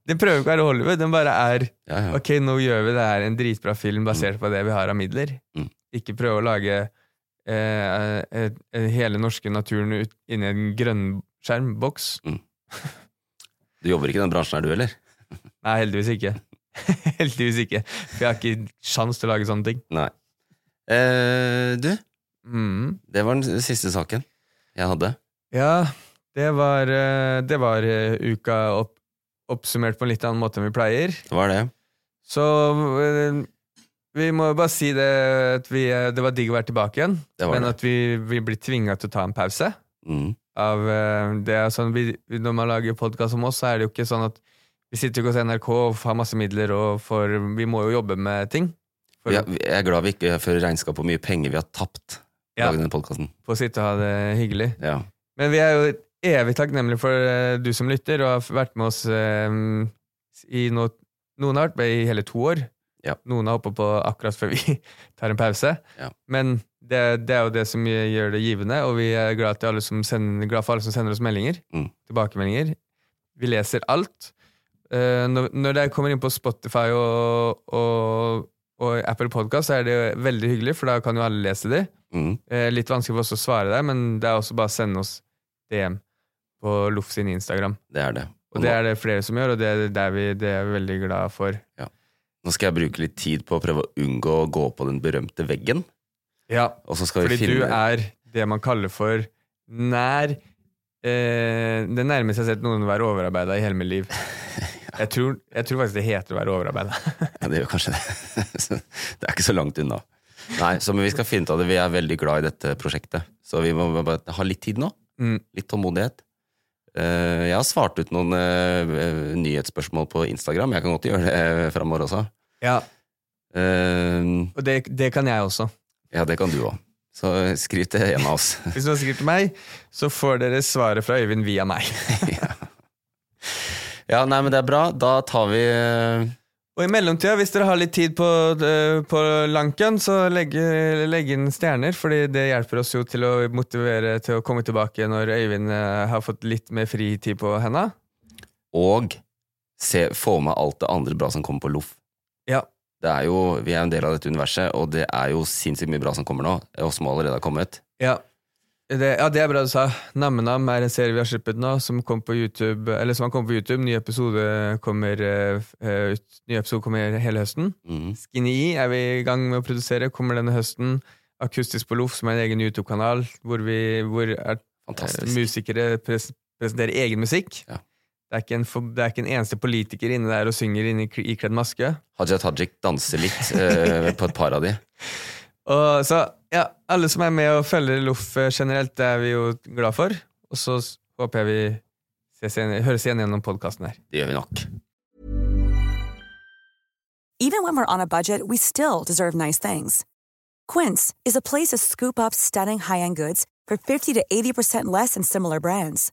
[SPEAKER 1] Den prøver ikke å være Hollywood. Den bare er
[SPEAKER 2] Ja, ja.
[SPEAKER 1] Ok, nå gjør vi det her en dritbra film basert på det vi har av midler.
[SPEAKER 2] Mm.
[SPEAKER 1] Ikke prøve å lage eh, eh, eh, hele norske naturen ut, inni en grønnskjermboks.
[SPEAKER 2] Du jobber ikke i den bransjen her, du heller?
[SPEAKER 1] Nei, heldigvis ikke. heldigvis ikke. For jeg har ikke sjans til å lage sånne ting.
[SPEAKER 2] Nei. Eh, du,
[SPEAKER 1] Mm.
[SPEAKER 2] det var den siste saken jeg hadde.
[SPEAKER 1] Ja, det var, eh, det var eh, uka opp, oppsummert på en litt annen måte enn vi pleier.
[SPEAKER 2] Det var det.
[SPEAKER 1] Så eh, vi må jo bare si det at vi, eh, det var digg å være tilbake igjen,
[SPEAKER 2] Det var
[SPEAKER 1] men
[SPEAKER 2] det.
[SPEAKER 1] at vi, vi blir tvinga til å ta en pause.
[SPEAKER 2] Mm.
[SPEAKER 1] Av, eh, det er sånn, vi, når man lager podkast om oss, så er det jo ikke sånn at vi sitter jo ikke hos NRK og har masse midler, og får, vi må jo jobbe med ting for,
[SPEAKER 2] Vi er, jeg er glad vi ikke fører regnskap på hvor mye penger vi har tapt.
[SPEAKER 1] Ja.
[SPEAKER 2] Ja. denne podcasten.
[SPEAKER 1] for å sitte og ha det hyggelig.
[SPEAKER 2] Ja.
[SPEAKER 1] Men vi er jo evig takknemlige for eh, du som lytter, og har f- vært med oss eh, i nå- noen har vært med i hele to år.
[SPEAKER 2] Ja.
[SPEAKER 1] Noen har hoppa på akkurat før vi tar en pause.
[SPEAKER 2] Ja.
[SPEAKER 1] Men det, det er jo det som gjør det givende, og vi er glad, til alle som sender, glad for alle som sender oss meldinger.
[SPEAKER 2] Mm.
[SPEAKER 1] Tilbakemeldinger. Vi leser alt. Eh, når, når det kommer inn på Spotify og, og, og Apple Podcast, så er det veldig hyggelig, for da kan jo alle lese det.
[SPEAKER 2] Mm.
[SPEAKER 1] Eh, litt vanskelig for oss å svare der, men det er også bare å sende oss DM på Loff sin Instagram.
[SPEAKER 2] Det er det. Og
[SPEAKER 1] Og det er det flere som gjør, og det er, det er, vi, det er vi veldig glad for.
[SPEAKER 2] nå, nå skal jeg bruke litt tid på å prøve å unngå å gå på den berømte veggen.
[SPEAKER 1] Ja,
[SPEAKER 2] Og så skal
[SPEAKER 1] fordi
[SPEAKER 2] vi
[SPEAKER 1] du
[SPEAKER 2] finne
[SPEAKER 1] er det man kaller for nær eh, Det nærmeste jeg har sett noen være overarbeida i hele mitt liv. Jeg tror, jeg tror faktisk det heter å være overarbeida.
[SPEAKER 2] Ja, det gjør kanskje det. Så det er ikke så langt unna. Nei, så men vi skal finne ut av det. Vi er veldig glad i dette prosjektet. Så vi må bare ha litt tid nå.
[SPEAKER 1] Mm.
[SPEAKER 2] Litt tålmodighet. Eh, jeg har svart ut noen eh, nyhetsspørsmål på Instagram. Jeg kan godt gjøre det uh, framover også.
[SPEAKER 1] Ja,
[SPEAKER 2] Eh,
[SPEAKER 1] og det, det kan jeg også.
[SPEAKER 2] ja, det kan du òg. Så skriv til en av oss.
[SPEAKER 1] Hvis noen skriver til meg, så får dere svaret fra Øyvind via meg.
[SPEAKER 2] Ja, nei, men det er bra. Da tar vi eh,
[SPEAKER 1] Og i mellomtida, hvis dere har litt tid på, eh, på lanken, så legge, legge inn stjerner, fordi det hjelper oss jo til å motivere til å komme tilbake når Øyvind eh, har fått litt mer fritid på henda.
[SPEAKER 2] Og se, få med alt det andre bra som kommer på loff.
[SPEAKER 1] Ja.
[SPEAKER 2] Det er jo, Vi er en del av dette universet, og det er jo sinnssykt mye bra som kommer nå. eh, Og som allerede har kommet.
[SPEAKER 1] Ja. Det, ja, det er bra du sa. Nammenam er en serie vi har sluppet nå, som kom på YouTube. Eller som har kommet på YouTube. Ny episode kommer, eh, f- eh, ut, ny episode kommer hele høsten.
[SPEAKER 2] Mhm.
[SPEAKER 1] Skinny er vi i gang med å produsere, kommer denne høsten. Akustisk på Loff, som er en egen YouTube-kanal, hvor, vi- hvor er eh,
[SPEAKER 2] Fantastisk.
[SPEAKER 1] musikere pres presenterer egen musikk.
[SPEAKER 2] Ja.
[SPEAKER 1] Det, er ikke en, for- det er ikke en eneste politiker inne der og synger inne i kl- ikledd maske.
[SPEAKER 2] Haja Tajik danser litt eh, på et par av de.
[SPEAKER 1] Og så, ja, alle som er med og følger Loff eh, generelt, det er vi jo glad for. Og så s- håper jeg vi ses igjen, høres igjen gjennom podkasten her.
[SPEAKER 2] Det gjør vi nok.
[SPEAKER 3] Even when we're on a budget, we still deserve nice things. Quince is a place to scoop up stunning high-end goods for 50 to 80% less than similar brands.